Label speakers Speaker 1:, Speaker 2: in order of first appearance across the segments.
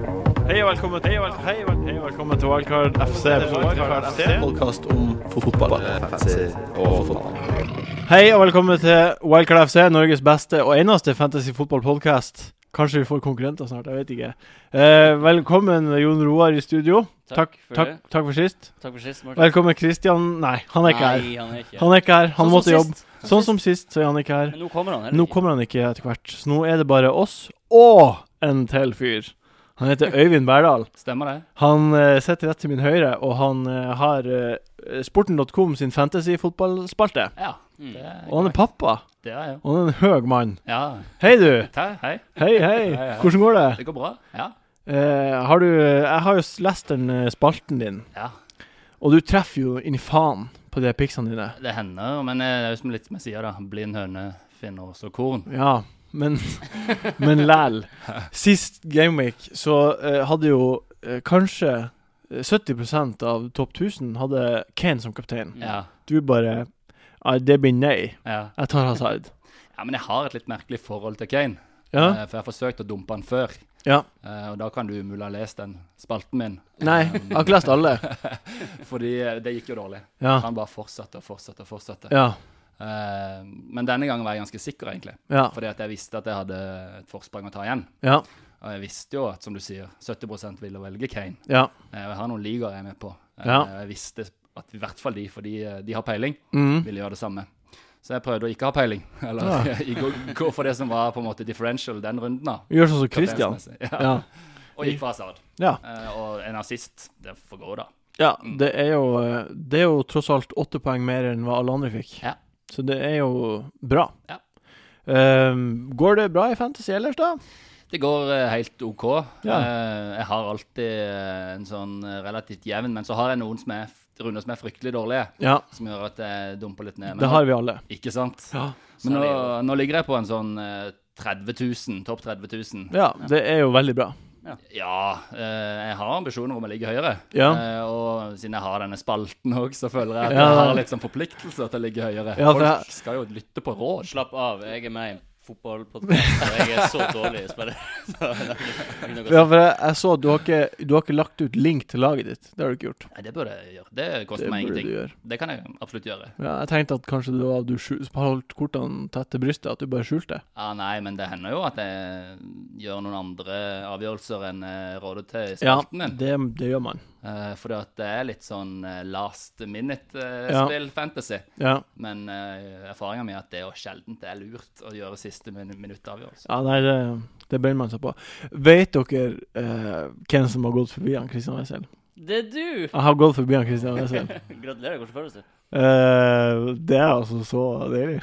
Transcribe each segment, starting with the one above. Speaker 1: og velkommen til Wildcard Hei og vel- hei og velkommen til Wildcard FC. Wildcard FC.
Speaker 2: Podkast om fotball. Og fotball.
Speaker 1: Hei og velkommen til Wildcard FC, Norges beste og eneste fantasy fotballpodkast. Kanskje vi får konkurrenter snart, jeg vet ikke. Eh, velkommen Jon Roar i studio.
Speaker 3: Takk for
Speaker 1: takk,
Speaker 3: det.
Speaker 1: Takk for sist.
Speaker 3: Takk for sist, Martin.
Speaker 1: Velkommen Christian Nei, han er ikke her.
Speaker 3: Nei, han er ikke
Speaker 1: Han er ikke her, han
Speaker 3: Sånn som
Speaker 1: måtte jobbe.
Speaker 3: sist.
Speaker 1: Sånn som sist, så er han ikke her.
Speaker 3: Men nå kommer han. eller
Speaker 1: Nå
Speaker 3: ikke?
Speaker 1: kommer han ikke etter hvert, så nå er det bare oss og en til fyr. Han heter Øyvind Berdal.
Speaker 3: Stemmer det?
Speaker 1: Han eh, sitter rett til min høyre, og han eh, har eh, sporten.com sin fantasy-fotballspalte.
Speaker 4: Ja.
Speaker 3: Mm.
Speaker 4: Det er,
Speaker 1: Og han er pappa,
Speaker 4: det er jeg.
Speaker 1: og han er en høg mann.
Speaker 4: Ja.
Speaker 1: Hei, du!
Speaker 4: Ta, hei.
Speaker 1: Hei, hei!
Speaker 4: Hei, hei.
Speaker 1: Hvordan går det?
Speaker 4: Det går bra. Ja.
Speaker 1: Eh, har du Jeg har jo s- lest den eh, spalten din,
Speaker 4: ja.
Speaker 1: og du treffer jo inn i faen på de piksene dine.
Speaker 4: Det hender, men eh, det er jo som litt som jeg sier, da. Blind høne finner også korn.
Speaker 1: Ja, men Men læl. Sist gameweek så eh, hadde jo eh, kanskje eh, 70 av topp 1000 hadde Kane som kaptein.
Speaker 4: Ja.
Speaker 1: Du bare «Nei, Det blir nei.
Speaker 4: ja.
Speaker 1: Jeg tar Hazard.
Speaker 4: Ja, men jeg har et litt merkelig forhold til Kane.
Speaker 1: Ja.
Speaker 4: Eh, For jeg har forsøkt å dumpe han før.
Speaker 1: Ja.
Speaker 4: Eh, Og da kan du umulig ha lest den spalten min,
Speaker 1: Nei, jeg har ikke lest alle.
Speaker 4: fordi eh, det gikk jo dårlig.
Speaker 1: Ja.
Speaker 4: Han bare fortsatte og fortsatte og fortsatte.
Speaker 1: Ja.
Speaker 4: Eh, Men denne gangen var jeg ganske sikker, egentlig.
Speaker 1: Ja.
Speaker 4: Fordi at jeg visste at jeg hadde et forsprang å ta igjen.
Speaker 1: Ja.
Speaker 4: Og jeg visste jo at, som du sier, 70 ville velge Kane.
Speaker 1: ja.
Speaker 4: Eh, Jeg har noen ligaer jeg er med på. Eh,
Speaker 1: Ja.
Speaker 4: Jeg visste at i hvert fall de, fordi eh, de har peiling,
Speaker 1: Mm.
Speaker 4: ville gjøre det samme. Så jeg prøvde å ikke ha peiling,
Speaker 1: Ah.
Speaker 4: eller i gå, gå for det som var på en måte differential den runden. da.
Speaker 1: Gjør sånn som Christian.
Speaker 4: Kapteinsmessig. Ja.
Speaker 1: Ja.
Speaker 4: Og gikk for Hazard.
Speaker 1: ja.
Speaker 4: Eh, Og en assist, det får gå, da.
Speaker 1: ja. Det er jo eh, Det er jo tross alt åtte poeng mer enn hva alle andre fikk.
Speaker 4: Ja.
Speaker 1: Så det er jo bra.
Speaker 4: Ja.
Speaker 1: Ehm, går det bra i Fantasy ellers, da?
Speaker 4: Det går eh, helt OK.
Speaker 1: Ja.
Speaker 4: Eh, Jeg har alltid eh, en sånn eh, relativt jevn, men så har jeg noen som er, runder som er fryktelig dårlige,
Speaker 1: Ja,
Speaker 4: som gjør at jeg dumper litt ned. Men
Speaker 1: det har vi alle.
Speaker 4: Ikke sant?
Speaker 1: Ja.
Speaker 4: Men nå, nå ligger jeg på en sånn eh, 30 000, topp 30 000.
Speaker 1: ja, det er jo veldig bra.
Speaker 4: Ja, eh, jeg har ambisjoner om å ligge høyere.
Speaker 1: Ja.
Speaker 4: Eh, og siden jeg har denne spalten òg, så føler jeg at
Speaker 1: Ja.
Speaker 4: jeg har litt sånn forpliktelser til å ligge høyere.
Speaker 1: Ja, for
Speaker 4: Folk
Speaker 1: jeg-
Speaker 4: skal jo lytte på råd.
Speaker 3: Slapp av, jeg er med i en fotballpodkast, og jeg er så dårlig i spillet. Så det er ikke noe å si.
Speaker 1: Ja, for jeg, jeg så at du har, ikke, du har ikke lagt ut link til laget ditt. Det har du ikke gjort.
Speaker 4: Nei, det burde jeg gjøre. Det koster
Speaker 1: Det
Speaker 4: meg
Speaker 1: burde du
Speaker 4: ingenting.
Speaker 1: gjøre.
Speaker 4: Det kan jeg absolutt gjøre.
Speaker 1: Ja, jeg tenkte at kanskje det var du skjul- holdt kortene tett til brystet, at du bare skjulte.
Speaker 4: Ja, Nei, men det hender jo at jeg gjør noen andre avgjørelser enn jeg råder til i
Speaker 1: Ja,
Speaker 4: spalten min.
Speaker 1: det, det gjør man.
Speaker 4: Eh, fordi at det er litt sånn eh, last
Speaker 1: Ja.
Speaker 4: minute-spill fantasy.
Speaker 1: Ja.
Speaker 4: Men uh, erfaringa mi er at det er jo sjelden det er lurt å gjøre siste min minuttavgjørelse.
Speaker 1: Ja, nei, det, det brenner man seg på. Vet dere eh, hvem som har gått forbi han Christian Wessel?
Speaker 3: Det er du!
Speaker 1: Jeg har gått forbi han Christian Wessel.
Speaker 3: Gratulerer. Hvordan føles det?
Speaker 1: Eh, det er altså så deilig.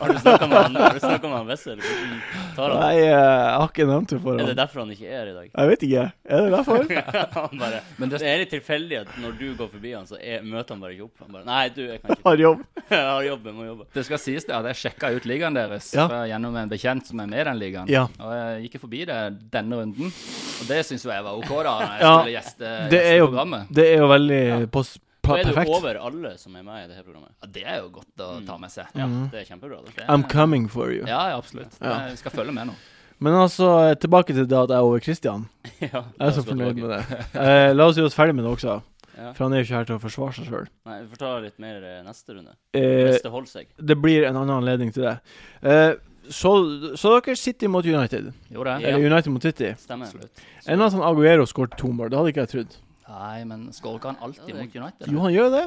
Speaker 3: Har du snakka med han Har du snakket med han Wessel? Hvordan tar han?
Speaker 1: Nei, eh, jeg har ikke nevnt det for
Speaker 3: Er det
Speaker 1: ham.
Speaker 3: derfor han ikke er her i dag?
Speaker 1: Jeg vet ikke. Er det derfor?
Speaker 3: Han bare,
Speaker 4: Men
Speaker 3: det
Speaker 4: det-
Speaker 3: er litt tilfeldig at når du går forbi han, så er, møter han bare ikke opp. Han bare Nei, du, jeg kan ikke.
Speaker 1: Har jobb.
Speaker 3: Jeg har jobb, jeg må jobbe.
Speaker 4: Det skal sies det at jeg sjekka ut ligaen deres
Speaker 1: Ja.
Speaker 4: fra- gjennom en bekjent som er med i den ligaen.
Speaker 1: Ja.
Speaker 4: Og jeg gikk jo forbi det denne runden, og det syns jo jeg var OK, da, når jeg
Speaker 1: Ja,
Speaker 4: skulle gjeste,
Speaker 3: Eh,
Speaker 1: Det
Speaker 4: gjeste
Speaker 1: er jo,
Speaker 4: programmet.
Speaker 1: det er jo veldig på, s-
Speaker 3: Da
Speaker 1: pa-
Speaker 3: er du
Speaker 1: perfekt.
Speaker 3: over alle som er med i det her programmet.
Speaker 4: Ja, det er jo godt å ta med seg.
Speaker 3: Ja,
Speaker 1: Mm.
Speaker 3: det er kjempebra. Det.
Speaker 1: I'm coming for you.
Speaker 4: Ja, ja absolutt. Jeg skal følge med nå.
Speaker 1: Men altså, eh, tilbake til det at jeg er over Christian.
Speaker 3: Ja,
Speaker 1: Jeg er så fornøyd med det. Eh, la oss gjøre oss ferdig med det også,
Speaker 3: Ja.
Speaker 1: for han er jo ikke her til å forsvare seg sjøl.
Speaker 3: Nei, vi får ta litt mer eh, neste runde.
Speaker 1: Eh,
Speaker 3: Hvis det holder seg.
Speaker 1: det blir en annen anledning til det. Eh, så, så dere City mot United.
Speaker 4: Jo, det.
Speaker 3: Ja.
Speaker 1: Eller United mot City.
Speaker 3: Stemmer.
Speaker 4: Absolutt.
Speaker 1: En av sånn Aguero skåret to mål. Det hadde ikke jeg trodd.
Speaker 4: Nei, men skårer ikke han alltid
Speaker 3: Ja, det-
Speaker 4: mot United?
Speaker 1: Jo, han gjør det.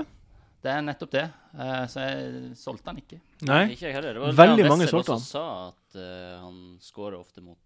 Speaker 4: Det er nettopp det. Eh, Så jeg solgte han ikke.
Speaker 1: Nei.
Speaker 3: Ikke jeg heller. Det var
Speaker 1: Veldig
Speaker 3: det han
Speaker 1: mange
Speaker 3: Wessel
Speaker 1: solgte
Speaker 3: også sa at eh, han skårer ofte mot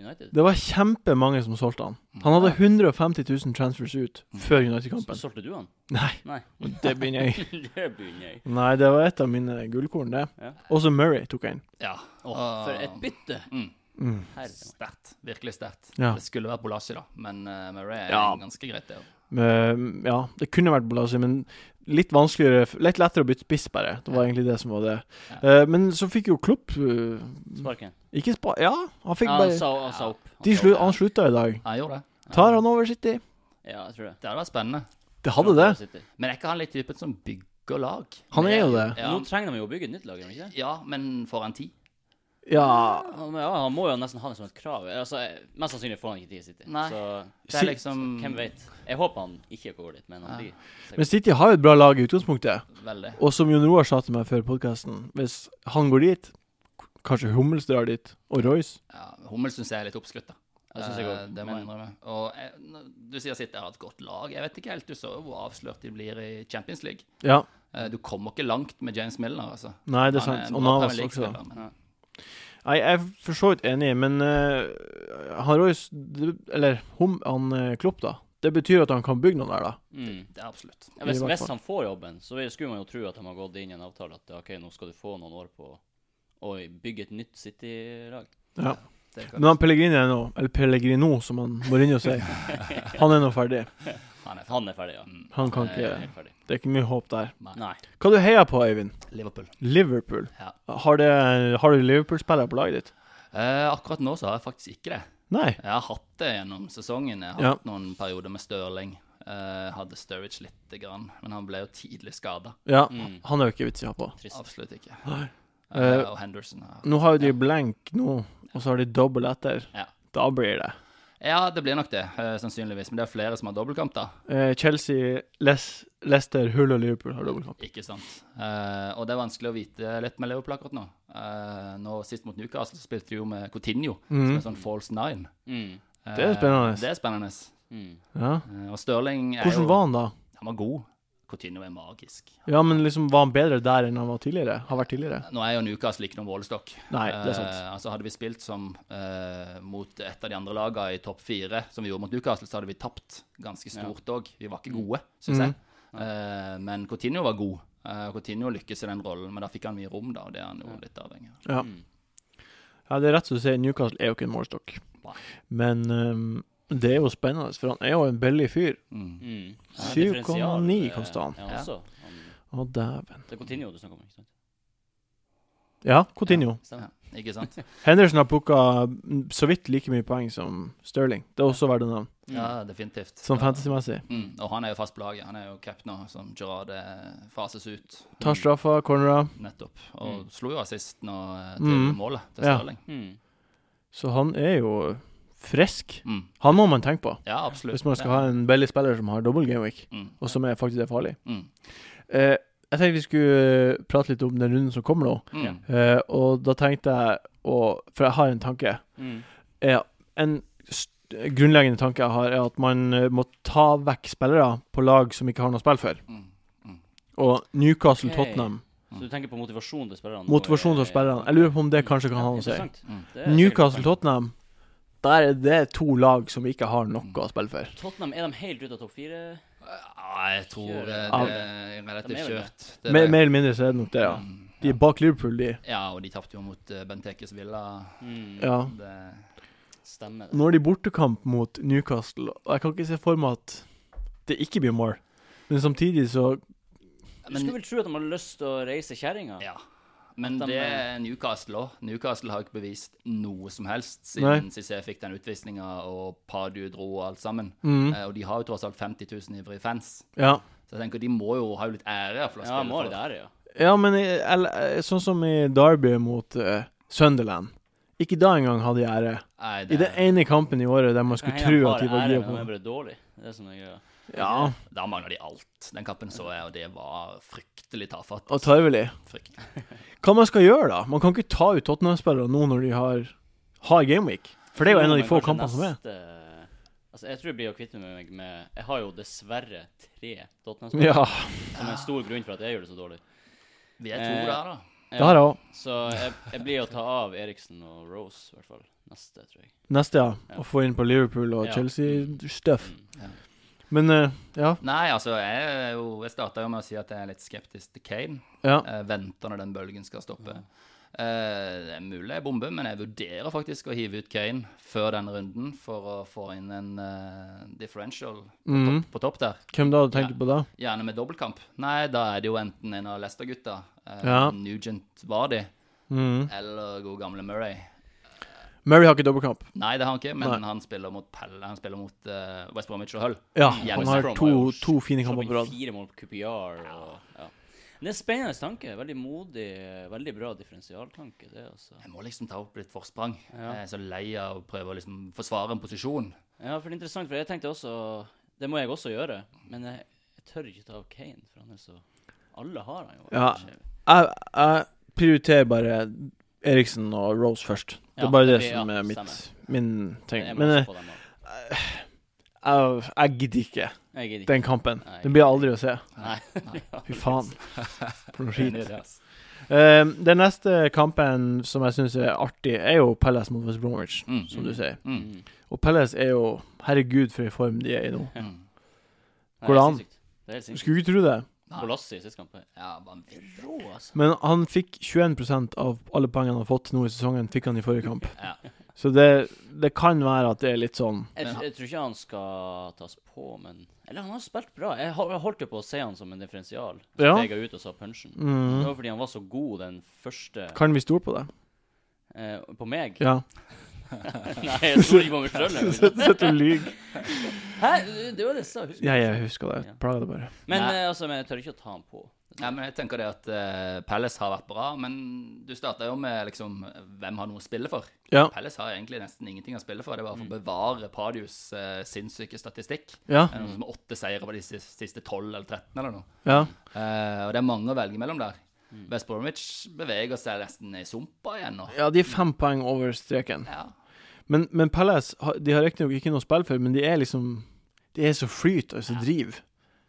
Speaker 3: United.
Speaker 1: Det var kjempemange som solgte han. Han hadde 150 000 transfers ut før
Speaker 3: Så
Speaker 1: United-kampen.
Speaker 3: solgte du han?
Speaker 1: Nei,
Speaker 3: Nei.
Speaker 1: det begynner jeg.
Speaker 3: det begynner jeg.
Speaker 1: Nei, det var et av mine gullkorn, det.
Speaker 3: Ja.
Speaker 1: Også Murray tok jeg inn.
Speaker 4: Ja.
Speaker 3: Åh,
Speaker 4: Og-
Speaker 3: for et bytte!
Speaker 4: Mm.
Speaker 1: Mm.
Speaker 3: Herre.
Speaker 4: Sterkt. Virkelig sterkt.
Speaker 1: Ja.
Speaker 4: Det skulle vært Bolasi, da, men eh, Murray er
Speaker 1: Ja.
Speaker 4: ganske greit, det òg.
Speaker 1: Men, ja, det kunne vært Bolasi, men litt vanskeligere Litt lettere å bytte spiss, bare. Det var egentlig det som var det. Eh, men så fikk jo Klopp eh,
Speaker 3: Sparken.
Speaker 1: Ikke spa... Ja, han fikk
Speaker 3: Ja, han
Speaker 1: bare
Speaker 3: sa, han sa opp. Han
Speaker 1: de
Speaker 3: sa
Speaker 1: slu,
Speaker 3: opp.
Speaker 1: Han slutta i dag.
Speaker 4: Han gjorde det.
Speaker 1: Tar han over City?
Speaker 3: Ja, jeg tror det.
Speaker 4: Det hadde vært spennende.
Speaker 1: Det hadde det.
Speaker 3: City.
Speaker 4: Men er ikke han litt typen som bygger lag?
Speaker 1: Han er jo det.
Speaker 4: Ja,
Speaker 3: Nå trenger de jo å bygge et nytt lag, gjør de ikke? det?
Speaker 4: ja men får han ti?
Speaker 1: Ja
Speaker 3: Han, ja, han må jo nesten ha det som et krav. Altså, jeg- mest sannsynlig får han ikke tid i City.
Speaker 4: Nei.
Speaker 3: Så
Speaker 4: Det
Speaker 1: Si-
Speaker 4: er liksom
Speaker 3: hvem vet. Jeg håper han ikke går dit, men han
Speaker 4: Ja.
Speaker 3: blir.
Speaker 1: Men City har jo et bra lag i utgangspunktet.
Speaker 4: Veldig.
Speaker 1: Og som Jon Roar sa til meg før podkasten, hvis han går dit k- Kanskje Hummels drar dit, og Royce.
Speaker 4: Ja, Hummel syns jeg er litt oppskrytt, da.
Speaker 3: Det synes jeg
Speaker 4: Eh,
Speaker 3: også,
Speaker 4: det må
Speaker 3: men-
Speaker 4: jeg innrømme. Og eh, når du sier City har et godt lag. Jeg vet ikke helt. Du så jo hvor avslørt de blir i Champions League.
Speaker 1: Ja.
Speaker 4: Eh, Du kommer ikke langt med James Milner, altså.
Speaker 1: Nei, det er
Speaker 4: Han er
Speaker 1: sant.
Speaker 4: en
Speaker 1: Og
Speaker 4: bra
Speaker 1: Navas
Speaker 4: Premier
Speaker 1: også.
Speaker 4: League-spiller, men-
Speaker 1: Nei, jeg er for så vidt enig, men eh, han Royce det- Eller hum, han eh, Klopp, da. Det betyr at han kan bygge noen der, da.
Speaker 3: Mm.
Speaker 4: Det er absolutt.
Speaker 3: Ja, hvis,
Speaker 1: I hvert
Speaker 3: hvis
Speaker 1: fall.
Speaker 3: han får jobben, så vil- skulle man jo tro at de har gått inn i en avtale at ok, nå skal du få noen år på å bygge et nytt City-lag.
Speaker 1: Ja.
Speaker 4: Det kan-
Speaker 1: Men han Pellegrini er nå Eller Pellegrino, som han Mourinho sier. Han er nå ferdig.
Speaker 4: han er
Speaker 3: Han er ferdig, ja.
Speaker 4: Mm,
Speaker 1: Han kan
Speaker 3: Eh,
Speaker 1: ikke
Speaker 3: helt ferdig.
Speaker 1: Det er ikke mye håp der.
Speaker 3: Nei.
Speaker 1: Hva du heier på, Øyvind?
Speaker 4: Liverpool.
Speaker 1: Liverpool.
Speaker 4: Ja.
Speaker 1: Har, det, har du Liverpool-spillere på laget ditt?
Speaker 4: Eh, akkurat nå så har jeg faktisk ikke det.
Speaker 1: Nei.
Speaker 4: Jeg har hatt det gjennom sesongen. Jeg har
Speaker 1: Ja.
Speaker 4: hatt noen perioder med Stirling. Eh, hadde Sturridge lite grann, men han ble jo tidlig skada.
Speaker 1: Ja,
Speaker 3: Mm.
Speaker 1: han er jo ikke vits i å ha på.
Speaker 3: Trist.
Speaker 4: Absolutt ikke.
Speaker 1: Nei.
Speaker 4: Eh,
Speaker 1: Eh,
Speaker 4: og Henderson. har-
Speaker 1: Nå har jo de
Speaker 4: Ja.
Speaker 1: blank nå, og så har de dobbel etter.
Speaker 4: Ja.
Speaker 1: Da blir det.
Speaker 4: Ja, det blir nok det, eh, sannsynligvis. Men det er flere som har dobbeltkamp, da.
Speaker 1: Eh, Chelsea, Les Leicester, Hull og Liverpool har dobbeltkamp.
Speaker 4: Ikke sant. Eh, og det er vanskelig å vite litt med Liverpool akkurat nå. Eh, nå Sist mot Newcastle så spilte de jo med Coutinho,
Speaker 1: Mhm.
Speaker 4: som er sånn false nine.
Speaker 3: Mm.
Speaker 4: Eh,
Speaker 1: Det er spennende.
Speaker 4: Det er spennende.
Speaker 3: Mm.
Speaker 1: Ja.
Speaker 4: Eh, Og Stirling er
Speaker 1: Hvordan
Speaker 4: jo
Speaker 1: var han da?
Speaker 4: Han var god. Coutinho er magisk.
Speaker 1: Ja, men liksom Var han bedre der enn han var tidligere? Har vært tidligere?
Speaker 4: Nå er jo Newcastle ikke noen målestokk.
Speaker 1: Nei, det er sant.
Speaker 4: Eh, altså Hadde vi spilt som eh, mot et av de andre lagene i topp fire, som vi gjorde mot Newcastle, så hadde vi tapt ganske stort òg. Vi var ikke gode, syns
Speaker 1: Mm.
Speaker 4: jeg. Eh, men Coutinho var god. Eh, Coutinho lykkes i den rollen, men da fikk han mye rom, da. og Det er han jo litt avhengig av.
Speaker 1: Ja.
Speaker 3: Mm.
Speaker 1: ja, det er rett som du sier, Newcastle er jo ikke en målestokk.
Speaker 4: Nei.
Speaker 1: Men ehm, det er jo spennende, for han er jo en billig fyr.
Speaker 4: Mm.
Speaker 3: Mm.
Speaker 1: 7,9
Speaker 3: Differensial, eh,
Speaker 1: koster han.
Speaker 3: Ja,
Speaker 4: Ja.
Speaker 3: også. Han-
Speaker 1: Å, dæven.
Speaker 3: Det er Coutinho du snakker om, ikke sant?
Speaker 1: Ja, Coutinho.
Speaker 4: Ja,
Speaker 3: Stemmer.
Speaker 4: ikke sant?
Speaker 1: Henderson har plukka så vidt like mye poeng som Sterling. Det er også verdt å nevne,
Speaker 3: Mm.
Speaker 4: Ja, definitivt.
Speaker 1: sånn
Speaker 4: Ja.
Speaker 1: fantasymessig.
Speaker 4: Mm. Og han er jo fast på laget. Han er jo cap nå, som Gerard eh, fases ut.
Speaker 1: Tar straffa, cornerer.
Speaker 4: Nettopp. Og
Speaker 3: Mm.
Speaker 4: slo jo assist nå eh, til
Speaker 1: Mm.
Speaker 4: målet til
Speaker 1: Ja.
Speaker 4: Stirling.
Speaker 3: Mm.
Speaker 1: Så han er jo frisk.
Speaker 4: Mm.
Speaker 1: Han må man tenke på.
Speaker 4: Ja, absolutt.
Speaker 1: Hvis man skal ha en billig spiller som har dobbel gameweek,
Speaker 4: mm.
Speaker 1: og som er faktisk er farlig.
Speaker 4: Mm.
Speaker 1: Eh, jeg tenkte vi skulle eh, prate litt om den runden som kommer nå.
Speaker 4: Mm.
Speaker 3: Ja.
Speaker 1: Eh, og da tenkte jeg å For jeg har en tanke.
Speaker 3: Mm.
Speaker 1: Eh, en st grunnleggende tanke jeg har, er at man eh, må ta vekk spillere på lag som ikke har noe å spille for.
Speaker 4: Mm.
Speaker 1: Og Newcastle
Speaker 3: Ok.
Speaker 1: Tottenham.
Speaker 3: Så du tenker på motivasjon til spillerne? eh,
Speaker 1: Motivasjon til spillerne. Jeg lurer på om det kanskje kan ha noe å si.
Speaker 4: Mm.
Speaker 1: Newcastle Tottenham, der er det to lag som ikke har noe å spille for.
Speaker 3: Tottenham, er de helt ute av topp fire?
Speaker 4: Ja, jeg tror
Speaker 3: Kjører.
Speaker 4: eh, det er
Speaker 3: De er
Speaker 4: relativt
Speaker 3: vel det.
Speaker 4: kjørt. Det er
Speaker 1: Mer,
Speaker 4: det.
Speaker 1: mer eller mindre så er det nok det, ja.
Speaker 4: Mm.
Speaker 1: De er bak Liverpool, de.
Speaker 4: Ja, og de tapte jo mot eh, Bentekes Villa.
Speaker 3: Mm.
Speaker 1: Ja.
Speaker 4: Det,
Speaker 3: Stemmer det.
Speaker 1: Nå har de bortekamp mot Newcastle, og jeg kan ikke se for meg at det ikke blir mål. Men samtidig så
Speaker 3: Du skulle vel tro at de har lyst til å reise kjerringa?
Speaker 4: ja. Men
Speaker 3: At de-
Speaker 4: det er Newcastle òg. Newcastle har ikke bevist noe som helst
Speaker 1: Nei.
Speaker 4: siden Cissé fikk den utvisninga og Padu dro og alt sammen.
Speaker 1: mm,
Speaker 4: Eh, og de har jo tross alt 50 000 ivrige fans.
Speaker 1: ja.
Speaker 4: Så jeg tenker de må jo ha jo litt ære for å
Speaker 3: Ja,
Speaker 4: spille
Speaker 3: må det
Speaker 4: for.
Speaker 3: der, ja.
Speaker 1: ja, men i- eller, eh, sånn som i Derby mot eh, Sunderland. Ikke da engang hadde de ære.
Speaker 4: Nei,
Speaker 1: I den ene kampen i året der man skulle
Speaker 3: Nei,
Speaker 1: tro
Speaker 3: har
Speaker 1: at de var
Speaker 3: ære,
Speaker 1: gira
Speaker 3: men
Speaker 1: på
Speaker 3: De er bare dårlig. Det er sånn som er greia.
Speaker 1: Ja,
Speaker 4: Da mangler de alt. Den kampen så jeg, og det var fryktelig tafatt.
Speaker 1: og tarvelig.
Speaker 4: Fryktelig.
Speaker 1: Hva man skal gjøre, da? Man kan ikke ta ut Tottenham-spillere nå når de har hard gameweek. For det er jo en av de få kampene som er.
Speaker 3: er. Altså, jeg tror jeg blir å kvitte meg med Jeg har jo dessverre tre Tottenham-spillere,
Speaker 1: Ja,
Speaker 3: som er en stor grunn for at jeg gjør det så dårlig.
Speaker 4: Vi er to
Speaker 3: Eh,
Speaker 4: der, da.
Speaker 1: det har jeg òg.
Speaker 3: Så jeg, jeg blir å ta av Eriksen og Rose, i hvert fall. Neste, tror jeg.
Speaker 1: Neste, ja. Å få inn på Liverpool og
Speaker 3: Ja.
Speaker 1: Chelsea-stuff.
Speaker 3: Mm.
Speaker 1: Men eh, ja.
Speaker 4: Nei, altså, jeg, er jo- jeg starta jo med å si at jeg er litt skeptisk til Kane.
Speaker 1: ja.
Speaker 4: Jeg venter når den bølgen skal stoppe. Eh, det er mulig jeg bomber, men jeg vurderer faktisk å hive ut Kane før den runden for å få inn en eh, differential
Speaker 1: Mhm.
Speaker 4: på topp der.
Speaker 1: Hvem da tenkte du på da?
Speaker 4: Gjerne med dobbeltkamp. Nei, da er det jo enten en av Leicester-gutta, eh,
Speaker 1: Ja.
Speaker 4: Nugent Vardy,
Speaker 1: Mm.
Speaker 4: eller god gamle Murray.
Speaker 1: Murray har ikke dobbeltkamp.
Speaker 4: Nei, det har han ikke, men
Speaker 1: Nei.
Speaker 4: han spiller mot Pelle, han spiller mot eh, West Bromwich og Hull.
Speaker 1: Ja,
Speaker 4: Ja,
Speaker 1: han
Speaker 4: West
Speaker 1: har
Speaker 3: Brom har
Speaker 1: to,
Speaker 3: jo
Speaker 1: to fine
Speaker 3: Slapp
Speaker 1: kamper på
Speaker 3: inn
Speaker 1: rad.
Speaker 3: fire mål på QPR og ja. Det er en spennende tanke. Veldig modig, veldig bra differensialtanke. det altså.
Speaker 4: Jeg må liksom ta opp litt forsprang. Jeg er så lei av å prøve å liksom forsvare en posisjon.
Speaker 3: Ja, for det er interessant, for jeg tenkte også Det må jeg også gjøre, men jeg, jeg tør ikke ta av Kane, for han er så Alle har han jo.
Speaker 1: Ja. Jeg, jeg prioriterer bare Eriksen og Rose først. Det
Speaker 3: Ja,
Speaker 1: er bare det
Speaker 3: det- ja,
Speaker 1: som er mitt,
Speaker 3: stemmer.
Speaker 1: min ting.
Speaker 3: Jeg må
Speaker 1: Men eh,
Speaker 3: også
Speaker 1: jeg,
Speaker 3: få dem av.
Speaker 1: jeg, jeg gidder ikke
Speaker 3: Jeg gidder ikke.
Speaker 1: den kampen.
Speaker 3: Nei.
Speaker 1: Den blir jeg aldri å se.
Speaker 3: Nei.
Speaker 1: Fy faen. For noe skit.
Speaker 4: Enig i det, ass.
Speaker 1: Eh, den neste kampen som jeg syns er artig, er jo Palace mot West Bromwich,
Speaker 4: Mm.
Speaker 1: som du sier.
Speaker 4: Mm.
Speaker 3: Mm.
Speaker 1: Og Palace er jo Herregud, for en form de er i nå.
Speaker 4: Mm.
Speaker 3: Nei,
Speaker 1: Går det an?
Speaker 3: helt sinnssykt. Det er helt
Speaker 1: Du
Speaker 3: sinnssykt.
Speaker 1: skulle ikke tro det,
Speaker 3: Kolassi i siste kamp. er
Speaker 4: Ja, vanvittig.
Speaker 3: Rå, altså.
Speaker 1: men han fikk 21 av alle poengene han har fått nå i sesongen, fikk han i forrige kamp.
Speaker 4: Ja.
Speaker 1: Så det, det kan være at det er litt sånn
Speaker 3: Jeg, tr- jeg tror ikke han skal tas på, men Eller, han har spilt bra. Jeg, ho- jeg holdt jo på å se han som en differensial. Så
Speaker 1: Ja. Mm.
Speaker 3: steg jeg ut og sa punchen. Det var fordi han var så god den første
Speaker 1: Kan vi stole på det?
Speaker 3: eh, På meg?
Speaker 1: Ja.
Speaker 3: Nei, jeg stoler ikke på meg sjøl.
Speaker 1: Sitter og lyver.
Speaker 3: Hæ? Det- Det var det jeg sa. husker du?
Speaker 1: Ja, jeg husker det. Jeg Plager det bare.
Speaker 3: Men
Speaker 4: Nei.
Speaker 3: eh, altså, men jeg tør ikke å ta han på.
Speaker 4: Nei, men jeg tenker det at eh, Palace har vært bra, men du starta jo med liksom Hvem har noe å spille for?
Speaker 1: Ja.
Speaker 4: Palace har egentlig nesten ingenting å spille for. Det var for å
Speaker 1: Mm.
Speaker 4: bevare Padius eh, sinnssyke statistikk.
Speaker 1: Ja.
Speaker 4: Det er noe som er Åtte seire på de sis- siste tolv eller 13 eller noe.
Speaker 1: Ja.
Speaker 4: Eh, og det er mange å velge mellom der.
Speaker 1: Mm.
Speaker 4: West Bromwich beveger seg nesten i sumpa igjen nå.
Speaker 1: ja, de er fem poeng over streken.
Speaker 4: Ja.
Speaker 1: Men, men Palace har- de har riktignok ikke noe spill for, men de er liksom De er så flyt og så driv.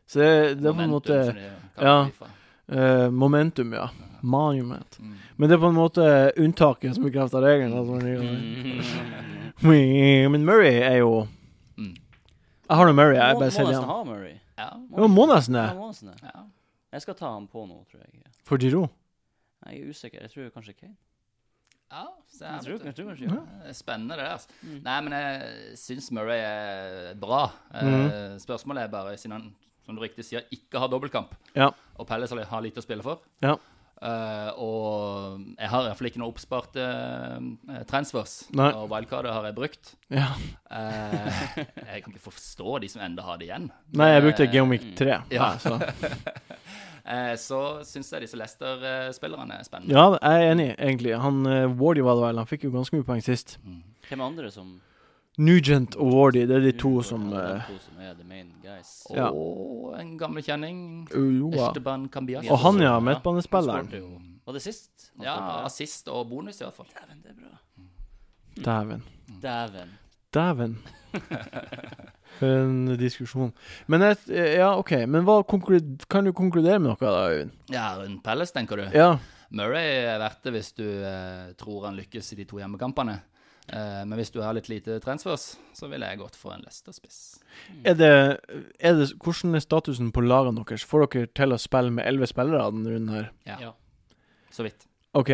Speaker 1: Så det, det er på en måte
Speaker 4: Momentum, som de kaller
Speaker 1: ja.
Speaker 4: det i FIFA.
Speaker 1: eh, Momentum, ja. Monument.
Speaker 4: Mm.
Speaker 1: Men det er på en måte unntaket som bekrefter regelen. Altså, når de gjør det. Men men Murray er jo
Speaker 4: Mm.
Speaker 1: Jeg har nå Murray, jeg
Speaker 3: Må-
Speaker 1: bare
Speaker 3: må
Speaker 1: selger
Speaker 3: nesten
Speaker 1: ham.
Speaker 3: ha Murray.
Speaker 4: Ja.
Speaker 1: Jo, må nesten det.
Speaker 3: Ja, må nesten det.
Speaker 4: ja.
Speaker 3: Jeg skal ta han på nå, tror jeg.
Speaker 1: For Giroud.
Speaker 3: Nei, Jeg er usikker. Jeg tror kanskje Kane.
Speaker 4: Ja, så
Speaker 3: Jeg tror, jeg
Speaker 4: vet du.
Speaker 3: tror kanskje Mm. ja.
Speaker 4: Det er Spennende det der. Altså. Nei, men jeg syns Murray er bra. Eh,
Speaker 1: Mhm.
Speaker 4: Spørsmålet er bare, siden han som du riktig sier, ikke har dobbeltkamp,
Speaker 1: Ja.
Speaker 4: og Pelles har lite å spille for
Speaker 1: Ja.
Speaker 4: eh, og jeg har iallfall ikke noe oppsparte eh, transfers.
Speaker 1: Nei.
Speaker 4: Og wildcardet har jeg brukt.
Speaker 1: ja.
Speaker 4: Eh, jeg kan ikke forstå de som enda har det igjen.
Speaker 1: Nei, jeg brukte Geomic 3.
Speaker 4: Ja.
Speaker 1: Nei, så.
Speaker 4: Eh, så syns jeg disse Leicester-spillerne er spennende.
Speaker 1: ja, jeg er enig, egentlig. Han eh, Wardy var det vel, han fikk jo ganske mye poeng sist.
Speaker 3: Hvem andre som
Speaker 1: Nugent og Wardy, det er de to
Speaker 3: Ja,
Speaker 1: som
Speaker 3: de
Speaker 1: eh,
Speaker 3: to som er the main guys.
Speaker 1: Ja.
Speaker 4: Og en gammel kjenning.
Speaker 1: Ulloa.
Speaker 4: Esteban Cambias.
Speaker 1: Og han, ja.
Speaker 3: Ja,
Speaker 1: Midtbanespilleren.
Speaker 3: han skårte jo. Var det sist? han
Speaker 4: Ja,
Speaker 3: skårte?
Speaker 4: assist og bonus i hvert fall.
Speaker 3: Dæven, det er bra.
Speaker 1: Dæven.
Speaker 4: altså,
Speaker 3: Dæven.
Speaker 1: Dæven. For en diskusjon. Men jeg, ja, OK. Men hva konklud- kan du konkludere med noe, da, Øyvind?
Speaker 4: Ja, rundt Palace, tenker du.
Speaker 1: Ja.
Speaker 4: Murray er verdt det hvis du eh, tror han lykkes i de to hjemmekampene. Eh, men hvis du har litt lite transfers, så ville jeg gått for en Leicester-spiss.
Speaker 1: Er det, er det, hvordan er statusen på lagene deres? Får dere til å spille med elleve spillere denne runden her?
Speaker 4: Ja.
Speaker 3: Ja.
Speaker 4: Så vidt.
Speaker 1: OK,